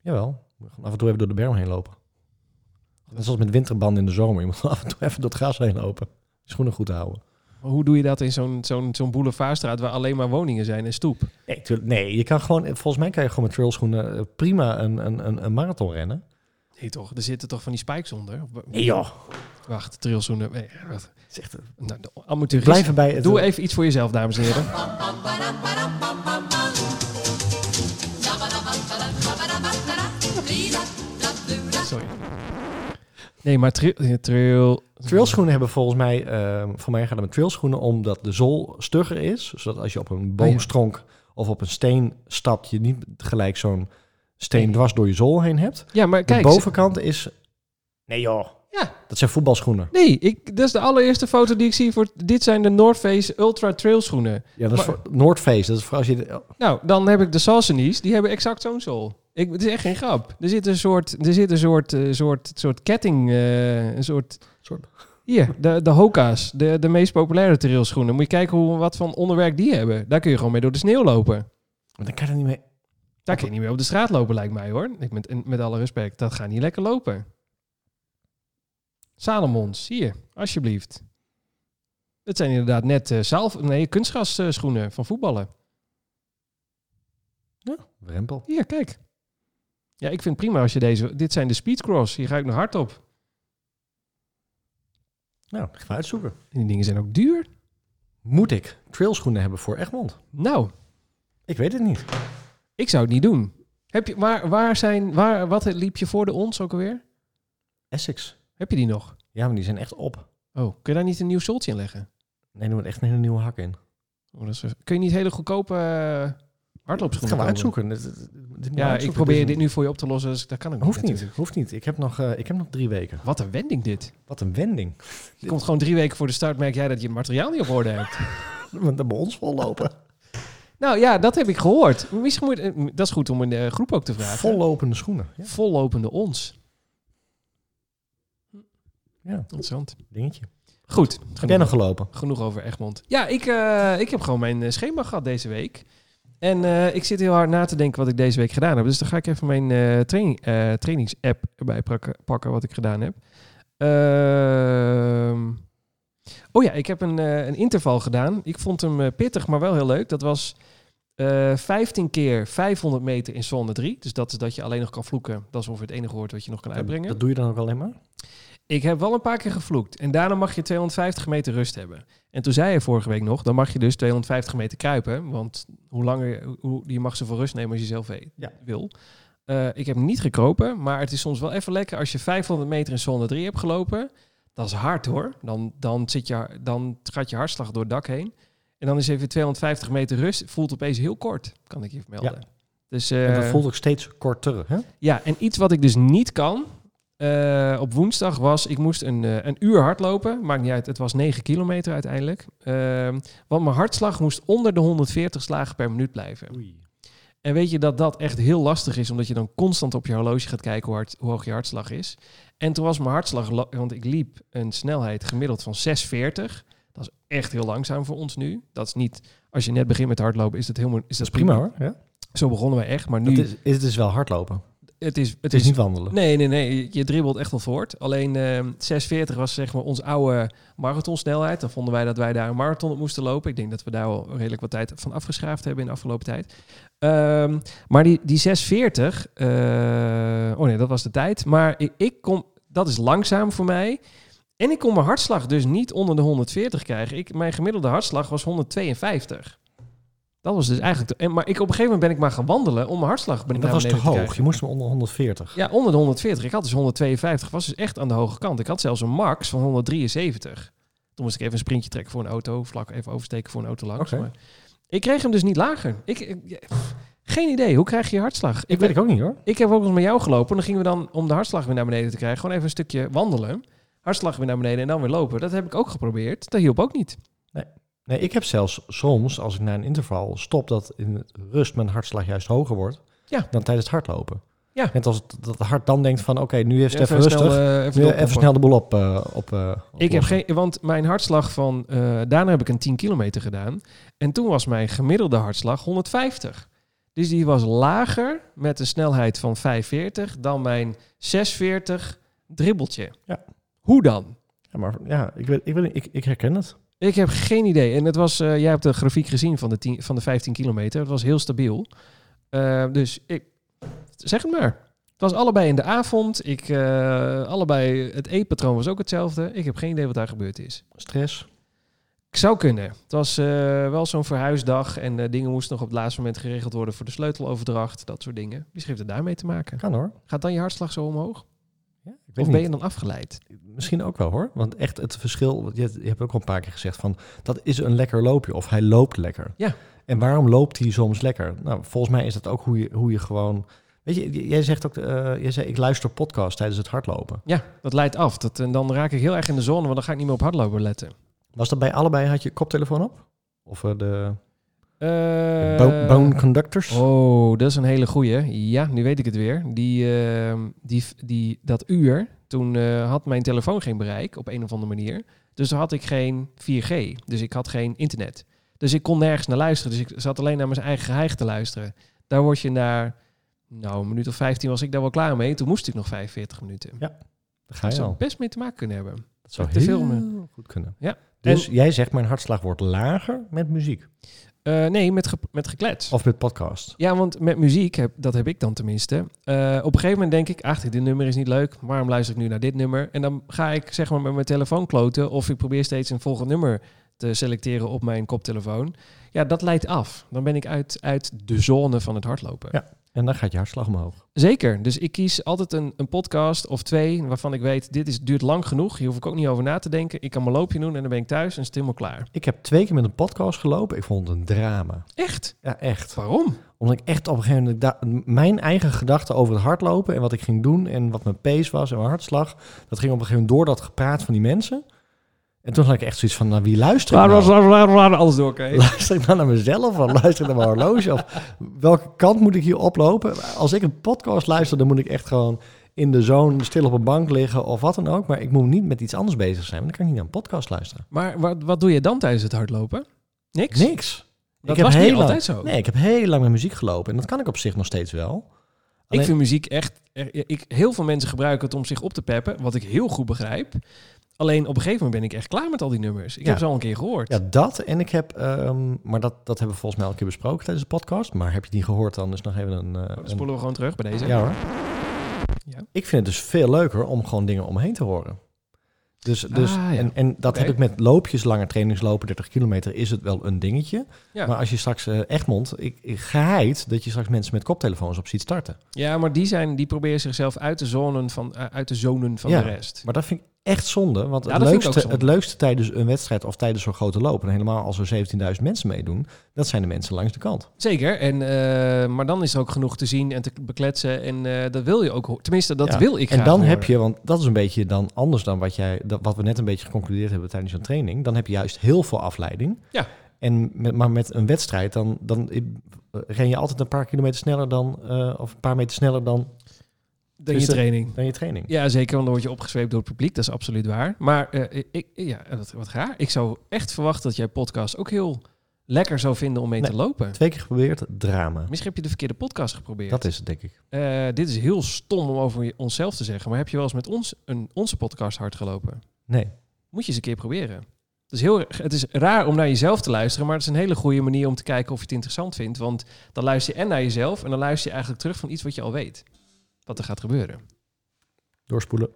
Jawel. Moet je gewoon Af en toe even door de berm heen lopen. Net zoals met winterbanden in de zomer. Je moet af en toe even door het gras heen lopen. Je Schoenen goed houden. Hoe doe je dat in zo'n zo'n zo'n boulevardstraat waar alleen maar woningen zijn en stoep? Nee, tuurlijk- nee, je kan gewoon, volgens mij kan je gewoon met trailschoenen eh, prima een, een, een, een marathon rennen. Nee toch, er zitten toch van die spikes onder? Of- joh. Wacht, trilzoenen. Nee, wacht. Het is echt- we Nou, de amateurist. Blijven bij het. Doe even iets voor jezelf, dames en heren. Sorry. Nee, maar tri- eh, trail... Trailschoenen hebben volgens mij, eh voor mij gaat het met trailschoenen omdat de zool stugger is. Zodat als je op een boomstronk of op een steen stapt, je niet gelijk zo'n steen dwars door je zool heen hebt. Ja, maar kijk. de bovenkant is... Nee joh. Ja. Dat zijn voetbalschoenen. Nee, ik, dat is de allereerste foto die ik zie voor... Dit zijn de North Face Ultra Trail schoenen. Ja, dat is Maar- voor Noordface. Dat is voor als je... de- oh, Nou, dan heb ik de Salsonies. Die hebben exact zo'n zool. Ik, het is echt geen grap. Er zit een soort, er zit een soort, eh, soort, soort ketting... eh, een soort soort- Hier, de, de Hoka's, de, de meest populaire trailschoenen. Moet je kijken hoe, wat van onderwerk die hebben. Daar kun je gewoon mee door de sneeuw lopen. Maar dan kan je er niet mee... Daar kun je niet meer op de straat lopen, lijkt mij hoor. Ik met, en met alle respect, dat gaat niet lekker lopen. Salomons, hier, alsjeblieft. Het zijn inderdaad net eh zaalf, nee, kunstgrasschoenen van voetballen. Drempel. Hier, kijk. Ja, ik vind het prima als je deze... Dit zijn de Speedcross, hier ga ik nog hard op. Nou, ik ga uitzoeken. En die dingen zijn ook duur. Moet ik trailschoenen hebben voor Egmond? Nou, Ik weet het niet. ik zou het niet doen. Heb je, waar, waar zijn, waar, wat liep je voor de ons ook alweer? Essex. Heb je die nog? Ja, maar die zijn echt op. Oh, kun je daar niet een nieuw soltje in leggen? Nee, er moet echt een hele nieuwe hak in. Oh, dat is- kun je niet hele goedkope eh, Dat hardloopschoenen gaan we kopen? uitzoeken. Dit- dit- dit moet Ja, uitzoeken. ik probeer is- dit nu voor je op te lossen, dus dat kan ik Hoeft niet, natuurlijk. hoeft niet. Ik heb, nog, eh, ik heb nog drie weken. Wat een wending dit. Wat een wending. Je komt gewoon drie weken voor de start, merk jij dat je het materiaal niet op orde hebt. Want dan bij ons vollopen. nou ja, dat heb ik gehoord. Misschien moet, eh, dat is goed om in de groep ook te vragen. Vollopende schoenen. Ja, Vollopende ons. ja Interessant. dingetje. Goed, Heb jij genoeg, nog gelopen? genoeg over Egmond. Ja, ik, eh, ik heb gewoon mijn eh, schema gehad deze week. En eh, ik zit heel hard na te denken wat ik deze week gedaan heb. Dus dan ga ik even mijn eh, training, eh, trainingsapp erbij prakken- pakken wat ik gedaan heb. Ehm, oh ja, ik heb een, eh, een interval gedaan. Ik vond hem eh, pittig, maar wel heel leuk. Dat was eh 15 keer 500 meter in zone 3. Dus dat is dat je alleen nog kan vloeken. Dat is ongeveer het enige woord wat je nog kan uitbrengen. Dat doe je dan ook alleen maar? Ik heb wel een paar keer gevloekt. En daarna mag je 250 meter rust hebben. En toen zei hij vorige week nog, dan mag je dus 250 meter kruipen. Want hoe langer, hoe, je mag zoveel rust nemen als je zelf weet, Ja. wil. Eh, ik heb niet gekropen, maar het is soms wel even lekker als je 500 meter in zone 3 hebt gelopen. Dat is hard hoor. Dan, dan, zit je, dan gaat je hartslag door het dak heen. En dan is even 250 meter rust. Voelt opeens heel kort, kan ik je vermelden. Dus, eh, en dat voelt ook steeds korter, hè? ja, en iets wat ik dus niet kan eh, op woensdag was, ik moest een, eh, een uur hardlopen. Maakt niet uit, het was 9 kilometer uiteindelijk. Ehm, want mijn hartslag moest onder de 140 slagen per minuut blijven. En weet je dat dat echt heel lastig is, omdat je dan constant op je horloge gaat kijken hoe, hard, hoe hoog je hartslag is. En toen was mijn hartslag, la- want ik liep een snelheid gemiddeld van 640. Dat is echt heel langzaam voor ons nu. Dat is niet, als je net begint met hardlopen, is dat helemaal is dat Prima hoor. Ja? Zo begonnen we echt, maar nu Dat is, is, het is wel hardlopen. het is, Het is niet wandelen. Nee, nee, nee. Je dribbelt echt wel voort. Alleen ehm 640 was zeg maar onze oude marathonsnelheid. Dan vonden wij dat wij daar een marathon op moesten lopen. Ik denk dat we daar wel redelijk wat tijd van afgeschaafd hebben in de afgelopen tijd. Ehm, maar die, die 640, eh, oh nee, dat was de tijd. Maar ik, ik kom, dat is langzaam voor mij. En ik kon mijn hartslag dus niet onder de 140 krijgen. Ik, mijn gemiddelde hartslag was 152. Dat was dus eigenlijk. de- en, maar ik, op een gegeven moment ben ik maar gaan wandelen om mijn hartslag. En beneden dat was te beneden krijgen. hoog. Je moest hem onder 140. Ja, onder de 140. Ik had dus 152. Was dus echt aan de hoge kant. Ik had zelfs een max van 173. Toen moest ik even een sprintje trekken voor een auto. Vlak even oversteken voor een auto langs. Oké. Maar ik kreeg hem dus niet lager. Ik, ik- ja, pff, geen idee. Hoe krijg je je hartslag? Ik weet ik ook niet hoor. Ik heb ook nog met jou gelopen. Dan gingen we dan, om de hartslag weer naar beneden te krijgen, gewoon even een stukje wandelen. Hartslag weer naar beneden en dan weer lopen. Dat heb ik ook geprobeerd. Dat hielp ook niet. Nee, ik heb zelfs soms, als ik na een interval stop, dat in het rust mijn hartslag juist hoger wordt Ja. dan tijdens het hardlopen. Ja. Net als het, dat het hart dan denkt van, oké, nu heeft het even, rustig. snel, eh, even Nu even, doorpoppen. snel de boel op. eh, op eh, Ik heb oplossen. geen, want mijn hartslag van, eh, daarna heb ik een 10 kilometer gedaan. En toen was mijn gemiddelde hartslag 150. Dus die was lager met een snelheid van 45 dan mijn 640 dribbeltje. Ja. Hoe dan? Ja, maar ja, ik, weet, ik, weet, ik, ik herken het. Ik heb geen idee. En het was, eh, jij hebt de grafiek gezien van de, 10 van de 15 kilometer. Het was heel stabiel. Eh, dus ik, zeg het maar. Het was allebei in de avond. Ik, eh, allebei, het eetpatroon was ook hetzelfde. Ik heb geen idee wat daar gebeurd is. Stress. Ik zou kunnen. Het was eh, wel zo'n verhuisdag en eh, dingen moesten nog op het laatste moment geregeld worden voor de sleuteloverdracht, dat soort dingen. Misschien heeft het daarmee te maken. Kan hoor. Gaat dan je hartslag zo omhoog? Ja, ik Of weet ben niet. je dan afgeleid? Misschien ook wel hoor. Want echt het verschil, want je, je hebt ook al een paar keer gezegd van dat is een lekker loopje of hij loopt lekker. Ja. En waarom loopt hij soms lekker? Nou, volgens mij is dat ook hoe je, hoe je gewoon. Weet je, j- jij zegt ook, eh, jij zei ik luister podcast tijdens het hardlopen. Ja, dat leidt af. Dat, en dan raak ik heel erg in de zone, want dan ga ik niet meer op hardlopen letten. Was dat bij allebei, had je koptelefoon op? Of eh, de, Eh, de bo- bone conductors? oh, dat is een hele goeie. Ja, nu weet ik het weer. Die, ehm, die, die, dat uur, toen eh, had mijn telefoon geen bereik op een of andere manier. Dus toen had ik geen 4G. Dus ik had geen internet. Dus ik kon nergens naar luisteren. Dus ik zat alleen naar mijn eigen geheig te luisteren. Daar word je naar, nou, een minuut of 15 was ik daar wel klaar mee. Toen moest ik nog 45 minuten. Daar ga Dat je zou al. best mee te maken kunnen hebben. Dat zou te heel filmen. goed kunnen. Ja. Dus jij zegt mijn hartslag wordt lager met muziek. Eh, nee, met, ge- met geklets. Of met podcast. Ja, want met muziek, heb, dat heb ik dan tenminste. eh, op een gegeven moment denk ik, ach, dit nummer is niet leuk. Waarom luister ik nu naar dit nummer? En dan ga ik zeg maar met mijn telefoon kloten. Of ik probeer steeds een volgend nummer te selecteren op mijn koptelefoon. Ja, dat leidt af. Dan ben ik uit, uit de zone van het hardlopen. Ja. En dan gaat je hartslag omhoog. Zeker. Dus ik kies altijd een, een podcast of twee waarvan ik weet, dit is, duurt lang genoeg. Hier hoef ik ook niet over na te denken. Ik kan mijn loopje doen en dan ben ik thuis en is het helemaal klaar. Ik heb twee keer met een podcast gelopen. Ik vond het een drama. Echt? Ja, echt. Waarom? Omdat ik echt op een gegeven moment... da- mijn eigen gedachten over het hardlopen en wat ik ging doen... en wat mijn pace was en mijn hartslag... dat ging op een gegeven moment door dat gepraat van die mensen. En toen had ik echt zoiets van, nou, wie luistert nou? alles door, oké. Luister ik nou naar mezelf of luister ik naar mijn horloge? Of welke kant moet ik hier oplopen? Als ik een podcast luister, dan moet ik echt gewoon in de zone stil op een bank liggen of wat dan ook. Maar ik moet niet met iets anders bezig zijn, want dan kan ik niet naar een podcast luisteren. Maar wat, wat doe je dan tijdens het hardlopen? Niks? Niks. Dat ik heb was niet heel lang, altijd zo. nee, ik heb heel lang met muziek gelopen en dat kan ik op zich nog steeds wel. Ik Alleen- vind muziek echt... er- ik, heel veel mensen gebruiken het om zich op te peppen, wat ik heel goed begrijp. Alleen op een gegeven moment ben ik echt klaar met al die nummers. Ik Ja. heb ze al een keer gehoord. Ja, dat en ik heb, ehm, maar dat, dat hebben we volgens mij al een keer besproken tijdens de podcast. Maar heb je het niet gehoord, dan is nog even een... eh, Nou, Dan een- spoelen we gewoon terug bij deze. Ja hoor. Ja. Ik vind het dus veel leuker om gewoon dingen omheen te horen. Dus, dus, Ah, ja. en, en dat Oké. heb ik met loopjes, lange trainingslopen, 30 kilometer, is het wel een dingetje. Ja. Maar als je straks, eh, Egmond, ik, ik geheid dat je straks mensen met koptelefoons op ziet starten. Ja, maar die, zijn, die proberen zichzelf uit de zonen van, eh, uit de, zonen van Ja. de rest. Maar dat vind ik echt zonde, want Ja, het, dat vind ik ook leukste, zonde. het leukste tijdens een wedstrijd of tijdens zo'n grote loop, en helemaal als er 17.000 mensen meedoen, dat zijn de mensen langs de kant. Zeker, en, eh, maar dan is er ook genoeg te zien en te bekletsen. En eh, dat wil je ook ho- Tenminste, dat Ja. wil ik En graag dan horen. heb je, want dat is een beetje dan anders dan wat, jij, dat, wat we net een beetje geconcludeerd hebben tijdens een training. Dan heb je juist heel veel afleiding. Ja. En met, maar met een wedstrijd, dan, dan eh, ren je altijd een paar kilometer sneller dan, eh, of een paar meter sneller dan, Dan je Dus dat- training. dan je training. Ja, zeker, want dan word je opgezweept door het publiek. Dat is absoluut waar. Maar eh, ik, ja, wat, wat raar. Ik zou echt verwachten dat jij podcast ook heel lekker zou vinden om mee Nee. te lopen. Twee keer geprobeerd, drama. Misschien heb je de verkeerde podcast geprobeerd. Dat is het, denk ik. Eh, dit is heel stom om over je- onszelf te zeggen. Maar heb je wel eens met ons een, onze podcast hard gelopen? Nee. Moet je eens een keer proberen. Het is, heel, het is raar om naar jezelf te luisteren, maar het is een hele goede manier om te kijken of je het interessant vindt. Want dan luister je en naar jezelf en dan luister je eigenlijk terug van iets wat je al weet. Wat er gaat gebeuren. Doorspoelen.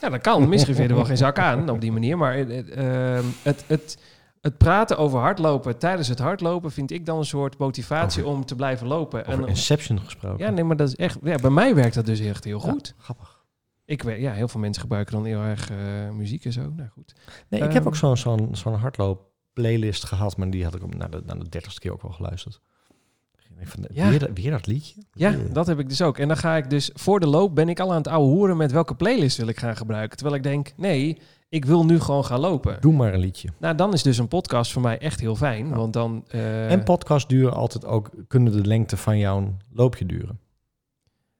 Ja, dat kan. Misschien vind je er wel geen zak aan op die manier. Maar eh, eh, ehm, het, het, het praten over hardlopen tijdens het hardlopen vind ik dan een soort motivatie om te blijven lopen. Oh. Over En, eh, Inception gesproken. ja, nee, maar dat is echt. Ja, bij mij werkt dat dus echt heel Ja, goed. grappig. Ik weet, ja, heel veel mensen gebruiken dan heel erg eh, muziek en zo. Nou goed. Nee, ik Ehm. heb ook zo'n zo'n zo'n hardloop playlist gehad, maar die had ik op- na de, na de dertigste keer ook wel geluisterd. Ik denk Van, Ja. weer, dat- weer dat liedje? Ja, Eh. dat heb ik dus ook. En dan ga ik dus voor de loop ben ik al aan het ouwe hoeren met welke playlist wil ik gaan gebruiken. Terwijl ik denk, nee, ik wil nu gewoon gaan lopen. Doe maar een liedje. Nou, dan is dus een podcast voor mij echt heel fijn. Ja. Want dan. eh, En podcasts duren altijd ook, kunnen de lengte van jouw loopje duren.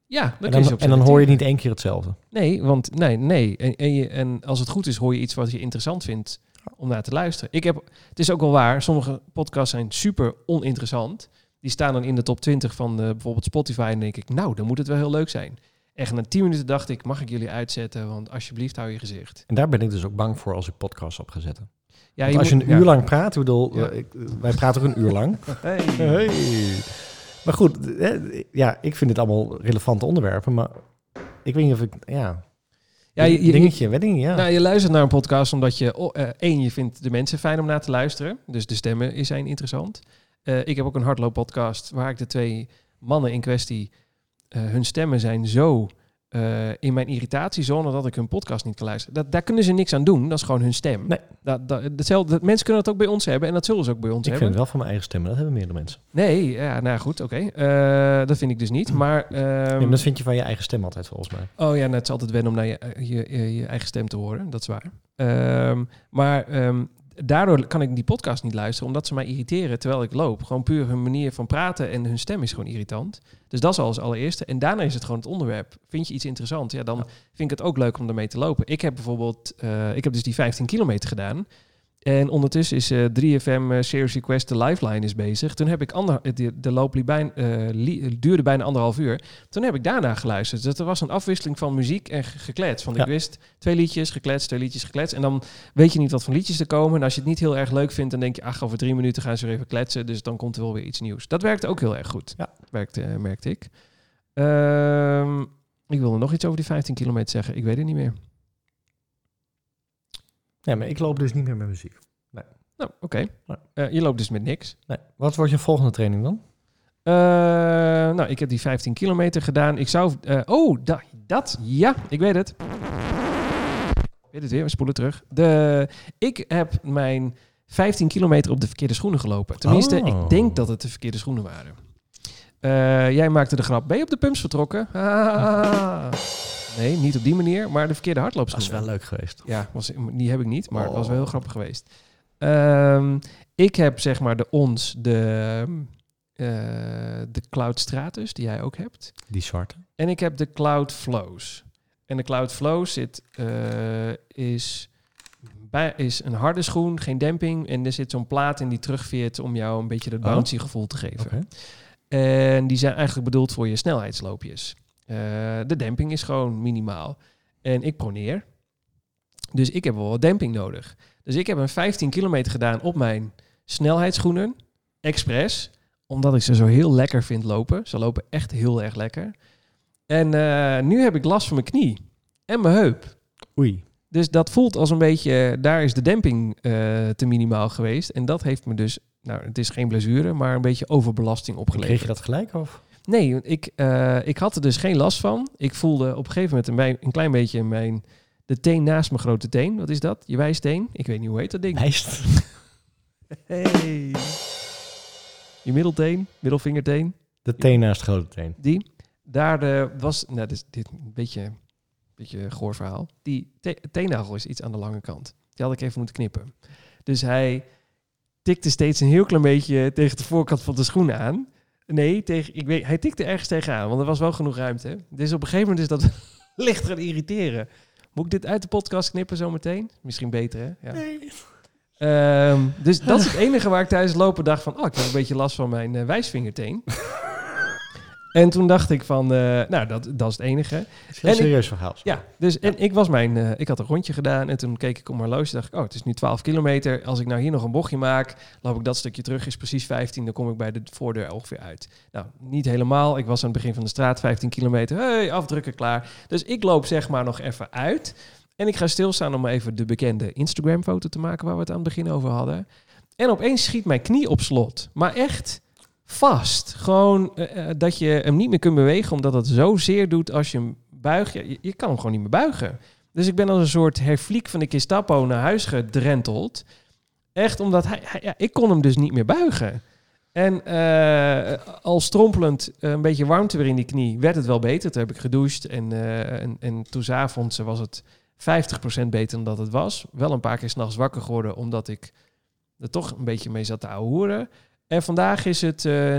ja, En dan, kun je ze dan, op en dan hoor je selecteren. niet één keer hetzelfde. Nee, want nee, nee. En, en, je, en als het goed is, hoor je iets wat je interessant vindt Oh. om naar te luisteren. Ik heb, het is ook wel waar, sommige podcasts zijn super oninteressant. Die staan dan in de top 20 van eh, bijvoorbeeld Spotify. En denk ik, nou, dan moet het wel heel leuk zijn. Echt na 10 minuten dacht ik, mag ik jullie uitzetten? Want alsjeblieft, hou je gezicht. En daar ben ik dus ook bang voor als ik podcasts op ga zetten. Ja, Want als je moet- een ja. uur lang praat, ik bedoel, Ja. eh, ik- wij praten ook een uur lang. Hey. Hey. Maar goed, eh, ja, ik vind dit allemaal relevante onderwerpen, maar ik weet niet of ik, ja, Ja, je- je- dingetje, wedding, ja. Nou, je luistert naar een podcast omdat je, oh, eh, één, je vindt de mensen fijn om naar te luisteren. Dus de stemmen is- zijn interessant. Eh, ik heb ook een hardlooppodcast waar ik de twee mannen in kwestie, eh, hun stemmen zijn zo eh, in mijn irritatiezone dat ik hun podcast niet kan luisteren. Dat, daar kunnen ze niks aan doen, dat is gewoon hun stem. Nee. Dat, dat, hetzelfde, dat- mensen kunnen dat ook bij ons hebben en dat zullen ze ook bij ons ik vind hebben. het wel van mijn eigen stemmen, dat hebben meerdere mensen. Nee, ja, nou goed, oké. Eh, dat vind ik dus niet. Maar, ehm, Nee, maar dat vind je van je eigen stem altijd, volgens mij. Oh ja, nou, het is altijd wennen om naar je, eh, je, je, je eigen stem te horen. Dat is waar. Ehm, maar ehm, daardoor kan ik die podcast niet luisteren, omdat ze mij irriteren terwijl ik loop. Gewoon puur hun manier van praten en hun stem is gewoon irritant. Dus dat is al als allereerste. En daarna is het gewoon het onderwerp. Vind je iets interessant? Ja, dan vind ik het ook leuk om daarmee te lopen. Ik heb bijvoorbeeld, eh, ik heb dus die 15 kilometer gedaan. En ondertussen is eh, 3FM eh, Series Request, de lifeline is bezig. Toen heb ik ander, eh, de, de loop liep bijna, eh, li- duurde bijna anderhalf uur. Toen heb ik daarna geluisterd. Dus er was een afwisseling van muziek en ge- geklets. Want ik Ja. wist twee liedjes, gekletst, twee liedjes, gekletst. En dan weet je niet wat voor liedjes er komen. En als je het niet heel erg leuk vindt, dan denk je... ach, over drie minuten gaan ze weer even kletsen. Dus dan komt er wel weer iets nieuws. Dat werkte ook heel erg goed. Ja. Werkte, eh, merkte ik. Ehm, ik wilde nog iets over die 15 kilometer zeggen. Ik weet het niet meer. Ja, maar ik loop dus niet meer met muziek. Nou, oké. Ja. Eh, je loopt dus met niks. Nee. Wat wordt je volgende training dan? Eh, nou, ik heb die 15 kilometer gedaan. Ik zou... eh, oh, da- dat. Ja, ik weet het. Ik weet het weer, we spoelen terug. De, ik heb mijn 15 kilometer op de verkeerde schoenen gelopen. Tenminste, Oh. ik denk dat het de verkeerde schoenen waren. Eh, jij maakte de grap. Ben je op de pumps vertrokken? Ah. Nee, niet op die manier, maar de verkeerde Dat is hardloopschoenen. wel leuk geweest. Ja, was, die heb ik niet, maar het was wel Oh. heel grappig geweest. Ehm, ik heb zeg maar de ons, de, eh, de Cloud Stratus, die jij ook hebt. Die zwarte. En ik heb de Cloud Flows. En de Cloud Flows zit, eh, is, bij, is een harde schoen, geen demping. En er zit zo'n plaat in die terugveert om jou een beetje dat Oh. bouncy gevoel te geven. Oké. En die zijn eigenlijk bedoeld voor je snelheidsloopjes. Eh, de demping is gewoon minimaal. En ik proneer. Dus ik heb wel wat demping nodig. Dus ik heb een 15 kilometer gedaan op mijn snelheidsschoenen. Express. Omdat ik ze zo heel lekker vind lopen. Ze lopen echt heel erg lekker. En eh, nu heb ik last van mijn knie. En mijn heup. Oei. Dus dat voelt als een beetje, daar is de demping eh, te minimaal geweest. En dat heeft me dus, nou het is geen blessure, maar een beetje overbelasting opgeleverd. Kreeg je dat gelijk of? Nee, want ik, eh, ik had er dus geen last van. Ik voelde op een gegeven moment een, bij- een klein beetje in mijn... De teen naast mijn grote teen. Wat is dat? Je wijsteen? Ik weet niet hoe heet dat ding. Lijst. Hey. Je middelteen, middelvingerteen. De teen naast de grote teen. Die. Daar eh, was... Nou, dit, is- dit een beetje, een beetje een goor verhaal. Die te- teennagel is iets aan de lange kant. Die had ik even moeten knippen. Dus hij tikte steeds een heel klein beetje tegen de voorkant van de schoen aan. Nee, tegen, ik weet, hij tikte ergens tegenaan, want er was wel genoeg ruimte. Dus op een gegeven moment is dat licht gaan irriteren. Moet ik dit uit de podcast knippen zometeen? Misschien beter, hè? Ja. Ehm, dus dat is het enige waar ik tijdens het lopen dacht van... Oh, ik heb een beetje last van mijn eh, wijsvingerteen. en toen dacht ik van... eh, nou, dat, dat is het enige. Het is een heel En ik- serieus verhaal. Ja, dus en ik was mijn, eh, ik had een rondje gedaan en toen keek ik op mijn horloge en dacht ik, oh, het is nu 12 kilometer. Als ik nou hier nog een bochtje maak, loop ik dat stukje terug, is precies 15, dan kom ik bij de voordeur ongeveer uit. Nou, niet helemaal. Ik was aan het begin van de straat, 15 kilometer, hey, afdrukken klaar. Dus ik loop zeg maar nog even uit en ik ga stilstaan om even de bekende Instagram-foto te maken waar we het aan het begin over hadden. En opeens schiet mijn knie op slot, maar echt vast. Gewoon eh, eh, dat je hem niet meer kunt bewegen, omdat dat zozeer doet als je hem buigt. Ja, je, je kan hem gewoon niet meer buigen. Dus ik ben als een soort herfliek van de Kistapo naar huis gedrenteld. Echt omdat hij, hij- ja, ik kon hem dus niet meer buigen. En eh, al strompelend eh, een beetje warmte weer in die knie, werd het wel beter. Toen heb ik gedoucht en, eh, en, en toen 's avonds was het 50% beter dan dat het was. Wel een paar keer s'nachts wakker geworden, omdat ik er toch een beetje mee zat te ouwehoeren. En vandaag is het eh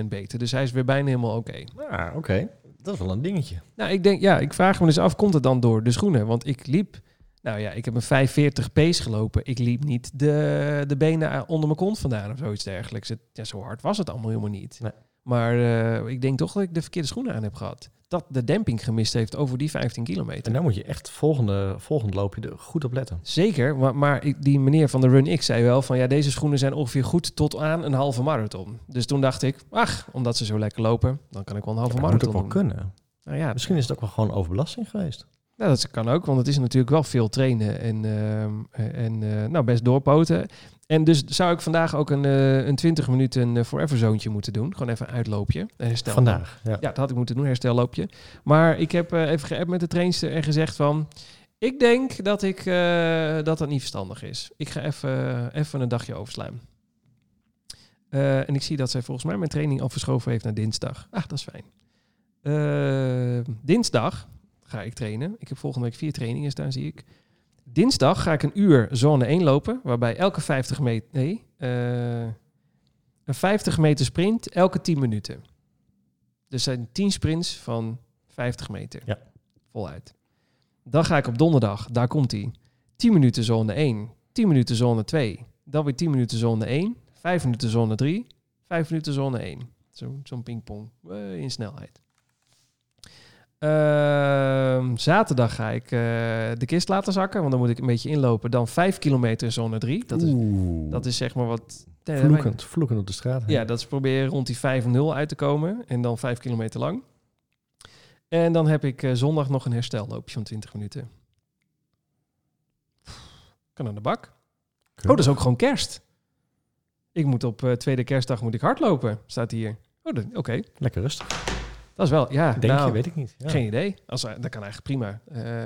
90% beter, dus hij is weer bijna helemaal oké. Ah, oké. Dat is wel een dingetje. Nou, ik denk, ja, ik vraag me dus af, komt het dan door de schoenen? Want ik liep, nou ja, ik heb een 45 pace gelopen. Ik liep niet de, de benen onder mijn kont vandaan of zoiets dergelijks. Het, ja, zo hard was het allemaal helemaal niet. Nee. Maar eh, ik denk toch dat ik de verkeerde schoenen aan heb gehad. Dat de demping gemist heeft over die 15 kilometer. En daar moet je echt volgende, volgend loopje er goed op letten. Zeker, maar, maar ik- die meneer van de Run X zei wel van ja, deze schoenen zijn ongeveer goed tot aan een halve marathon. Dus toen dacht ik, ach, omdat ze zo lekker lopen, dan kan ik wel een halve Maar dat moet ook marathon doen. wel kunnen. Nou ja, Misschien is het ook wel gewoon overbelasting geweest. nou, dat kan ook, want het is natuurlijk wel veel trainen en, ehm, eh, en eh, nou, best doorpoten. En dus zou ik vandaag ook een, eh, een 20 minuten eh, forever zoontje moeten doen. Gewoon even een uitloopje. Een herstel. Vandaag. Ja. Ja, dat had ik moeten doen, herstelloopje. Maar ik heb eh, even geappt met de trainster en gezegd van... Ik denk dat ik, eh, dat, dat niet verstandig is. Ik ga even, eh, even een dagje overslaan. Eh, en ik zie dat zij volgens mij mijn training al verschoven heeft naar dinsdag. Ah, dat is fijn. Eh, dinsdag ga ik trainen. Ik heb volgende week vier trainingen staan, zie ik. Dinsdag ga ik een uur zone 1 lopen, waarbij elke 50 meter... Nee, eh, een 50 meter sprint elke 10 minuten. Dus zijn 10 sprints van 50 meter. Ja. Voluit. Dan ga ik op donderdag, daar komt hij. 10 minuten zone 1, 10 minuten zone 2, dan weer 10 minuten zone 1, 5 minuten zone 3, 5 minuten zone 1. Zo- Zo'n pingpong eh, in snelheid. Ehm, zaterdag ga ik eh, de kist laten zakken, want dan moet ik een beetje inlopen. Dan 5 kilometer in zone 3. Dat is, Oeh. dat is zeg maar wat. vloekend, vloekend op de straat. Ja, dat is proberen rond die 5-0 uit te komen. En dan 5 kilometer lang. En dan heb ik eh, zondag nog een herstelloopje van 20 minuten. Kan aan de bak. Oh, dat is ook gewoon kerst. Ik moet op eh, tweede kerstdag moet ik hardlopen, staat hier. Oh, dat- oké. Lekker rustig. Dat is wel, ja. Denk nou, je, weet ik niet. Ja, Geen idee. Als, dat kan eigenlijk prima. Eh,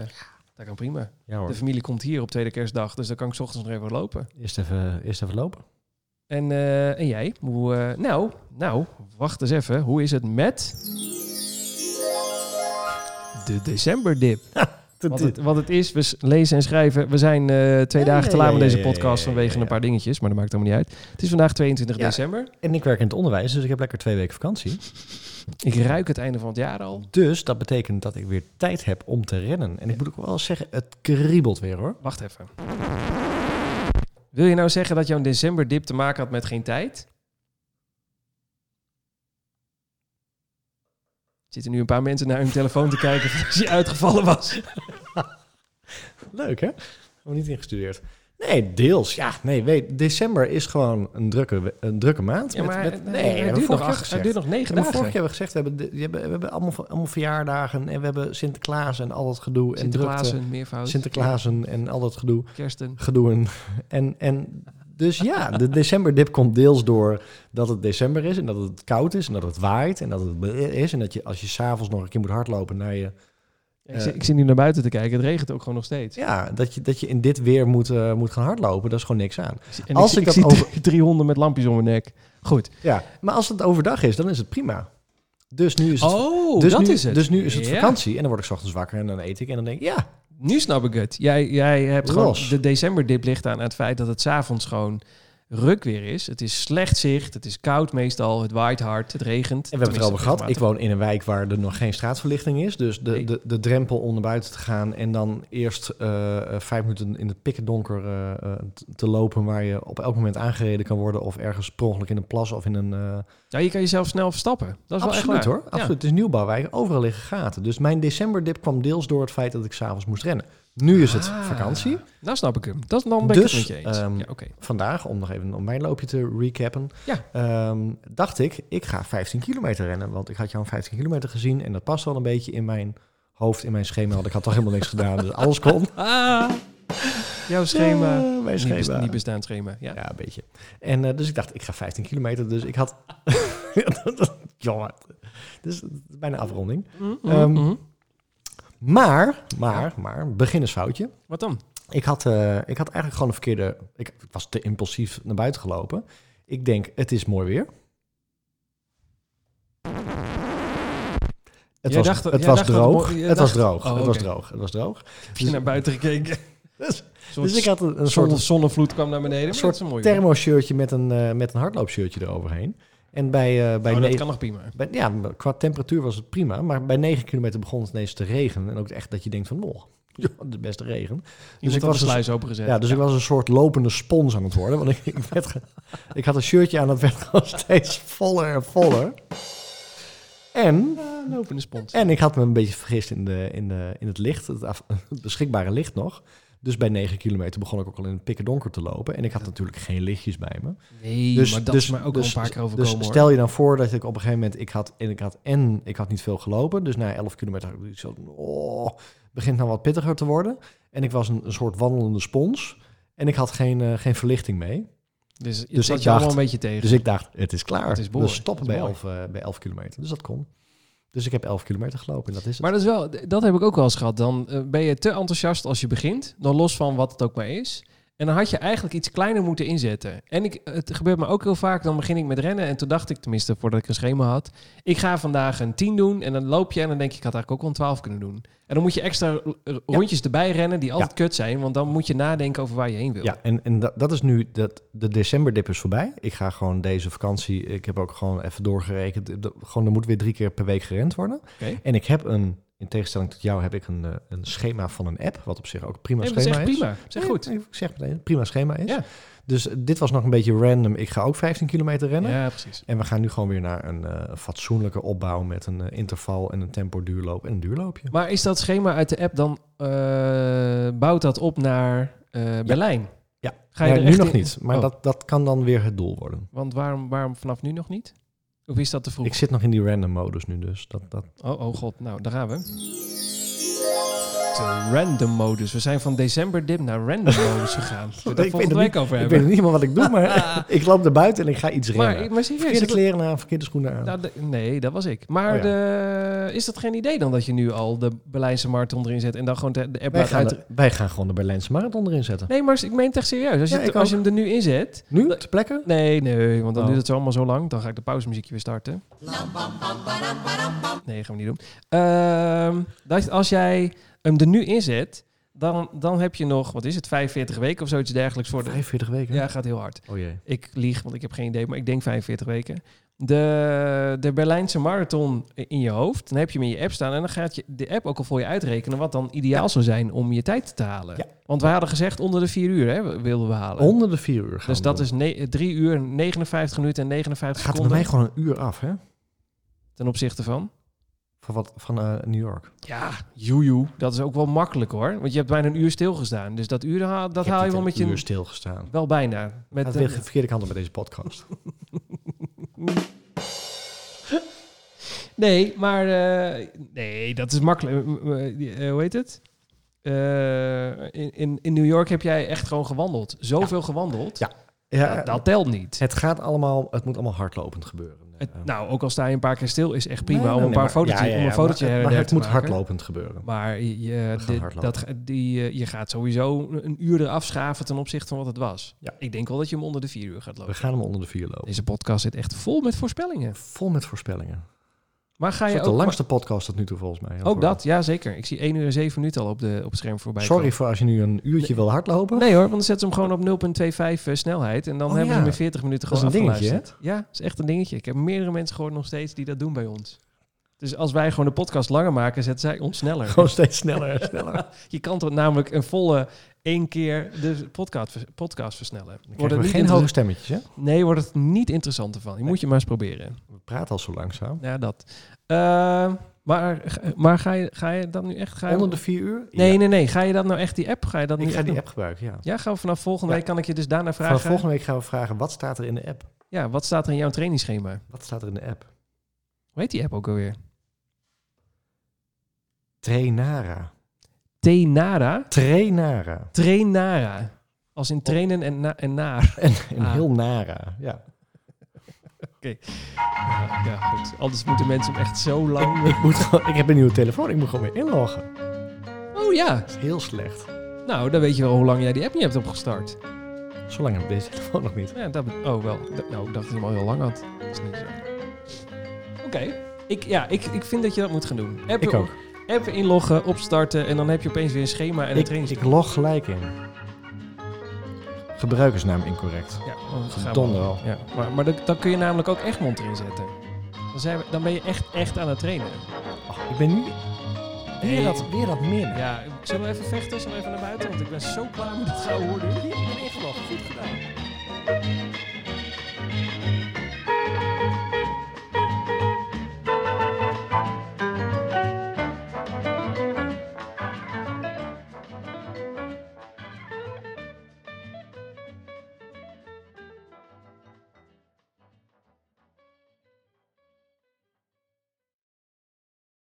dat kan prima. ja hoor. De familie komt hier op tweede kerstdag, dus dan kan ik 's ochtends nog even lopen. Eerst even, eerst even lopen. En, eh, en jij? Hoe, eh, nou, nou, wacht eens even. Hoe is het met... De decemberdip. Want het, wat het is, we s- lezen en schrijven. We zijn eh, twee Ja, dagen te ja, laat met ja, ja, deze ja, podcast ja, ja, vanwege ja. een paar dingetjes. Maar dat maakt helemaal niet uit. Het is vandaag 22 Ja. december. En ik werk in het onderwijs, dus ik heb lekker twee weken vakantie. Ik ruik het einde van het jaar al. Dus dat betekent dat ik weer tijd heb om te rennen. En ik moet ook wel zeggen, het kriebelt weer hoor. Wacht even. Wil je nou zeggen dat jouw decemberdip te maken had met geen tijd? Zitten nu een paar mensen naar hun telefoon te kijken of je uitgevallen was. Leuk hè? Hebben we niet ingestudeerd. Nee, deels. Ja, nee, weet, december is gewoon een drukke, we- een drukke maand. Ja, met- maar met, het- nee, het hebben we duurt nog vorig jaar acht, het gezegd. duurt nog negen We hebben dagen. vorig jaar hebben we gezegd, we hebben, de- we hebben, we hebben allemaal, ver- allemaal verjaardagen en we hebben Sinterklaas en al dat gedoe. en drukte. Sinterklaasen, meervoud. Sinterklaasen en al dat gedoe. Kersten. gedoe. En, en dus ja, de decemberdip komt deels door dat het december is en dat het koud is en dat het waait en dat het bleh is. En dat je als je s'avonds nog een keer moet hardlopen naar je... ik, zit, ik zit nu naar buiten te kijken. Het regent ook gewoon nog steeds. Ja, dat je, dat je in dit weer moet, eh, moet gaan hardlopen, dat is gewoon niks aan. En Als ik, ik zie dat drie- drie honden met lampjes om mijn nek. Goed. Ja, maar als het overdag is, dan is het prima. Dus nu is het... Oh, dus dat nu, is het. Dus nu is het Ja. vakantie en dan word ik 's ochtends wakker en dan eet ik en dan denk ik, ja, Nu snap ik het. Jij, jij hebt gewoon Los. de decemberdip ligt aan het feit dat het s'avonds gewoon ruk weer is. Het is slecht zicht. Het is koud meestal. Het waait hard. Het regent. En we hebben het erover gehad. Ik Tenminste, woon in een wijk waar er nog geen straatverlichting is. Dus de, Nee. de, de drempel om naar buiten te gaan en dan eerst eh, eh, vijf minuten in het pikkendonker eh, eh, t- te lopen... waar je op elk moment aangereden kan worden... of ergens per ongeluk in een plas of in een... eh Ja, je kan jezelf snel verstappen. Dat is wel absoluut echt waar. hoor. Ja. Absoluut. Het is nieuwbouwwijk. Overal liggen gaten. Dus mijn decemberdip kwam deels door het feit dat ik s'avonds moest rennen. Nu is het Ah. vakantie. Nou snap ik hem. Dat, dan ben ik Dus, het met je eens. ehm, ja, oké. Vandaag, om nog even om mijn loopje te recappen... Ja. ehm, dacht ik, ik ga 15 kilometer rennen. Want ik had jou een 15 kilometer gezien... en dat past wel een beetje in mijn hoofd, in mijn schema... want ik had toch helemaal niks gedaan, dus alles kon. Ah, jouw schema. Ja, mijn Niet, bes- schema. niet bestaand schema. Ja. ja, een beetje. En eh, dus ik dacht, ik ga 15 kilometer. Dus ik had... Jongen, dus het is bijna afronding. Mm, mm, Ehm, mhm. Maar, maar, maar, beginnersfoutje. Wat dan? Ik had, eh, ik had eigenlijk gewoon een verkeerde... Ik, ik was te impulsief naar buiten gelopen. Ik denk, het is mooi weer. Het Jij was, dacht- het jij was dacht dat het droog. mooi- jij Het was dacht- droog. Oh, Het was oké. droog. Het was droog. Heb je naar buiten gekeken? Dus, Een dus ik had een, een soort soort zonne- zonnevloed kwam naar beneden. maar soort dat is een mooi weer. thermoshirtje met een, eh met een hardloopshirtje eroverheen. En bij, eh, bij oh, dat negen- kan nog prima. bij- ja, qua temperatuur was het prima, maar bij 9 kilometer begon het ineens te regenen. En ook echt dat je denkt van, oh, ja, de beste regen. Dus ik ik was was de dus- sluis opengezet. Ja, dus ik was een soort lopende spons aan het worden. Want ik, ik, werd ge- ik had een shirtje aan, dat werd gewoon steeds voller en voller. En, Ah, lopende spons. en ik had me een beetje vergist in, de, in, de, in het licht, het, af- het beschikbare licht nog. Dus bij 9 kilometer begon ik ook al in het pikken donker te lopen. En ik had natuurlijk geen lichtjes bij me. Nee, Dus- maar dat dus- is mij ook dus- al een paar keer Dus overkomen hoor. stel je dan voor dat ik op een gegeven moment... Ik had, en ik had, en ik had niet veel gelopen. Dus na 11 kilometer had ik zo... Oh, het begint nou wat pittiger te worden. En ik was een, een soort wandelende spons. En ik had geen, eh, geen verlichting mee. Dus, het ik zat je dacht- allemaal een beetje tegen. Dus ik dacht, het is klaar. Het is We behoorlijk. stoppen Het is bij 11, eh, bij 11 kilometer. Dus dat kon. Dus ik heb 11 kilometer gelopen en dat is het. Maar dat, is wel, dat heb ik ook wel eens gehad. Dan eh, ben je te enthousiast als je begint. Dan los van wat het ook maar is. En dan had je eigenlijk iets kleiner moeten inzetten. En ik, het gebeurt me ook heel vaak. Dan begin ik met rennen. En toen dacht ik, tenminste voordat ik een schema had. Ik ga vandaag een 10 doen. En dan loop je. En dan denk je, ik had eigenlijk ook wel een 12 kunnen doen. En dan moet je extra r- r- rondjes erbij rennen. Die altijd kut zijn. Want dan moet je nadenken over waar je heen wil. Ja, en, en dat, dat is nu, dat, de decemberdip is voorbij. Ik ga gewoon deze vakantie, ik heb ook gewoon even doorgerekend. de- de- gewoon, er moet weer drie keer per week gerend worden. Oké. En ik heb een, in tegenstelling tot jou, heb ik een, eh, een schema van een app. Wat op zich ook een prima Nee, maar dat is schema echt is. prima. Zeg Nee, goed. nee, Ik zeg meteen, prima schema is. Ja. Dus eh, dit was nog een beetje random. Ik ga ook 15 kilometer rennen. Ja, precies. En we gaan nu gewoon weer naar een eh, fatsoenlijke opbouw met een eh, interval en een tempo duurloop en een duurloopje. Maar is dat schema uit de app dan... eh, bouwt dat op naar eh, Berlijn? Ja. Ga je Maar er nu echt nog in- niet, maar Oh. dat, dat kan dan weer het doel worden. Want waarom, waarom vanaf nu nog niet? Of is dat te vroeg? Ik zit nog in die random modus nu dus. Dat, dat, Oh, oh god, nou, daar gaan we. De random modus. We zijn van december dip naar random modus gegaan. Zullen We Ik daar weet volgende het week over Ik weet hebben. niet helemaal wat ik doe, maar ik loop naar buiten en ik ga iets rennen. Maar, ik- maar serieus. verkeerde dat- kleren aan, verkeerde schoenen aan. nou, de- nee, dat was ik. Maar Oh ja. de, is dat geen idee dan dat je nu al de Berlijnse marathon erin zet en dan gewoon de, de app wij, laat gaan uit? de- wij gaan gewoon de Berlijnse Marathon erin zetten. Nee, maar ik meen het echt serieus. Als je, Ja, het- ik als je hem er nu inzet... Nu, ter plekke? Nee, nee, want dan Oh. duurt het zo allemaal zo lang. Dan ga ik de pauzemuziekje weer starten. Nee, gaan we niet doen. Ehm, dat, als jij hem er nu inzet, dan, dan heb je nog, wat is het, 45 weken of zoiets dergelijks voor de... 45 weken? Ja, gaat heel hard. Oh jee. Ik lieg, want ik heb geen idee, maar ik denk 45 weken. De, de Berlijnse marathon in je hoofd, dan heb je hem in je app staan en dan gaat je de app ook al voor je uitrekenen wat dan ideaal zou zijn om je tijd te halen. Ja. Want we hadden gezegd onder de 4 uur hè, wilden we halen. Onder de 4 uur gaan Dus we dat doen. is 3 uur, 59 minuten en 59 Gaat er bij seconden mij gewoon een uur af, hè? ten opzichte van. Van, wat, van eh, New York. Ja, joejoe. Dat is ook wel makkelijk hoor. Want je hebt bijna een uur stilgestaan. Dus dat uur, haal- dat Ik heb haal je niet wel een met je... uur stilgestaan. Wel bijna. Met Gaat een- weer de verkeerde kant op met deze podcast. nee, maar... eh, nee, dat is makkelijk. Eh, eh, eh, hoe heet het? Eh, in, in, in New York heb jij echt gewoon gewandeld. Zoveel gewandeld. Ja. Dat, dat telt niet. Het gaat allemaal, het moet allemaal hardlopend gebeuren. Het- Eh, nou, ook al sta je een paar keer stil, is echt prima nee, om nee, een paar maar- fotootje, ja, ja, om ja, een fotootje maar- her en Maar der het te moet maken. hardlopend gebeuren. Maar je, gaan dit- hardlopen. dat, ga- die, eh, je gaat sowieso een uur eraf schaven ten opzichte van wat het was. Ja. Ik denk wel dat je hem onder de vier uur gaat We lopen. gaan hem onder de vier lopen. Deze podcast zit echt vol met voorspellingen. Vol met voorspellingen. Maar ga Dat je is ook... de langste podcast tot nu toe volgens mij. Ook dat, ja zeker. Ik zie 1 uur en 7 minuten al op, de, op het scherm voorbij. Sorry voor als je nu een uurtje wil hardlopen. komen. Nee hoor, want dan zetten ze hem gewoon op 0.25 eh, snelheid. En dan Oh hebben ze ja. hem in 40 minuten Dat is gewoon een dingetje, afgeluisterd. Ja, dat is echt een dingetje. Ik heb meerdere mensen gehoord nog steeds die dat doen bij ons. Dus als wij gewoon de podcast langer maken, zetten zij ons sneller. Dus Gewoon steeds sneller en sneller. Je kan toch namelijk een volle één keer de podcast, podcast versnellen. Wordt het er niet geen inter- hoge stemmetjes, hè? Nee, wordt het niet interessanter van. Je Nee. moet je maar eens proberen. We praten al zo langzaam. Ja, dat. Eh, maar maar ga, je, ga je dat nu echt... Ga je, Onder de vier uur? nee, Ja. nee, nee. Ga je dat nou echt, die app? Ga je dat nu Ik ga echt die doen? app gebruiken, ja. Ja, gaan we vanaf volgende Ja. week... Kan ik je dus daarna vragen... Vanaf volgende week gaan we vragen, wat staat er in de app? Ja, wat staat er in jouw trainingsschema? Wat staat er in de app? Hoe heet die app ook alweer? Trainara. Tenara? Trainara. Trainara. Als in trainen en, na en naar. En, en Ah. heel nara, ja. Ja, ja, goed. Anders moeten mensen hem echt zo lang... eh, Ik, moet gewoon, ik heb een nieuwe telefoon, ik moet gewoon weer inloggen. Oh ja. Dat is heel slecht. Nou, dan weet je wel hoe lang jij die app niet hebt opgestart. Zolang heb ik deze telefoon nog niet. Ja, dat bet- oh wel. D- nou, ik dacht dat hij hem al heel lang had. Dat is niet zo. Oké. Ik, ja, ik, ik vind dat je dat moet gaan doen. Appen, Ik ook. appen inloggen, opstarten en dan heb je opeens weer een schema en een Ik, training. ik log gelijk in. Gebruikersnaam incorrect. Ja, dan gaan we- Donder al. Ja, maar, maar dat- dan kun je namelijk ook Egmond erin zetten. Dan, zijn we, dan ben je echt, echt aan het trainen. Ach, Oh, ik ben nu Nee. weer dat, weer dat min. Ja, zullen we even vechten? Zullen we even naar buiten? Want ik ben zo klaar met dat gouden hoorden. Ik ben echt wel goed gedaan.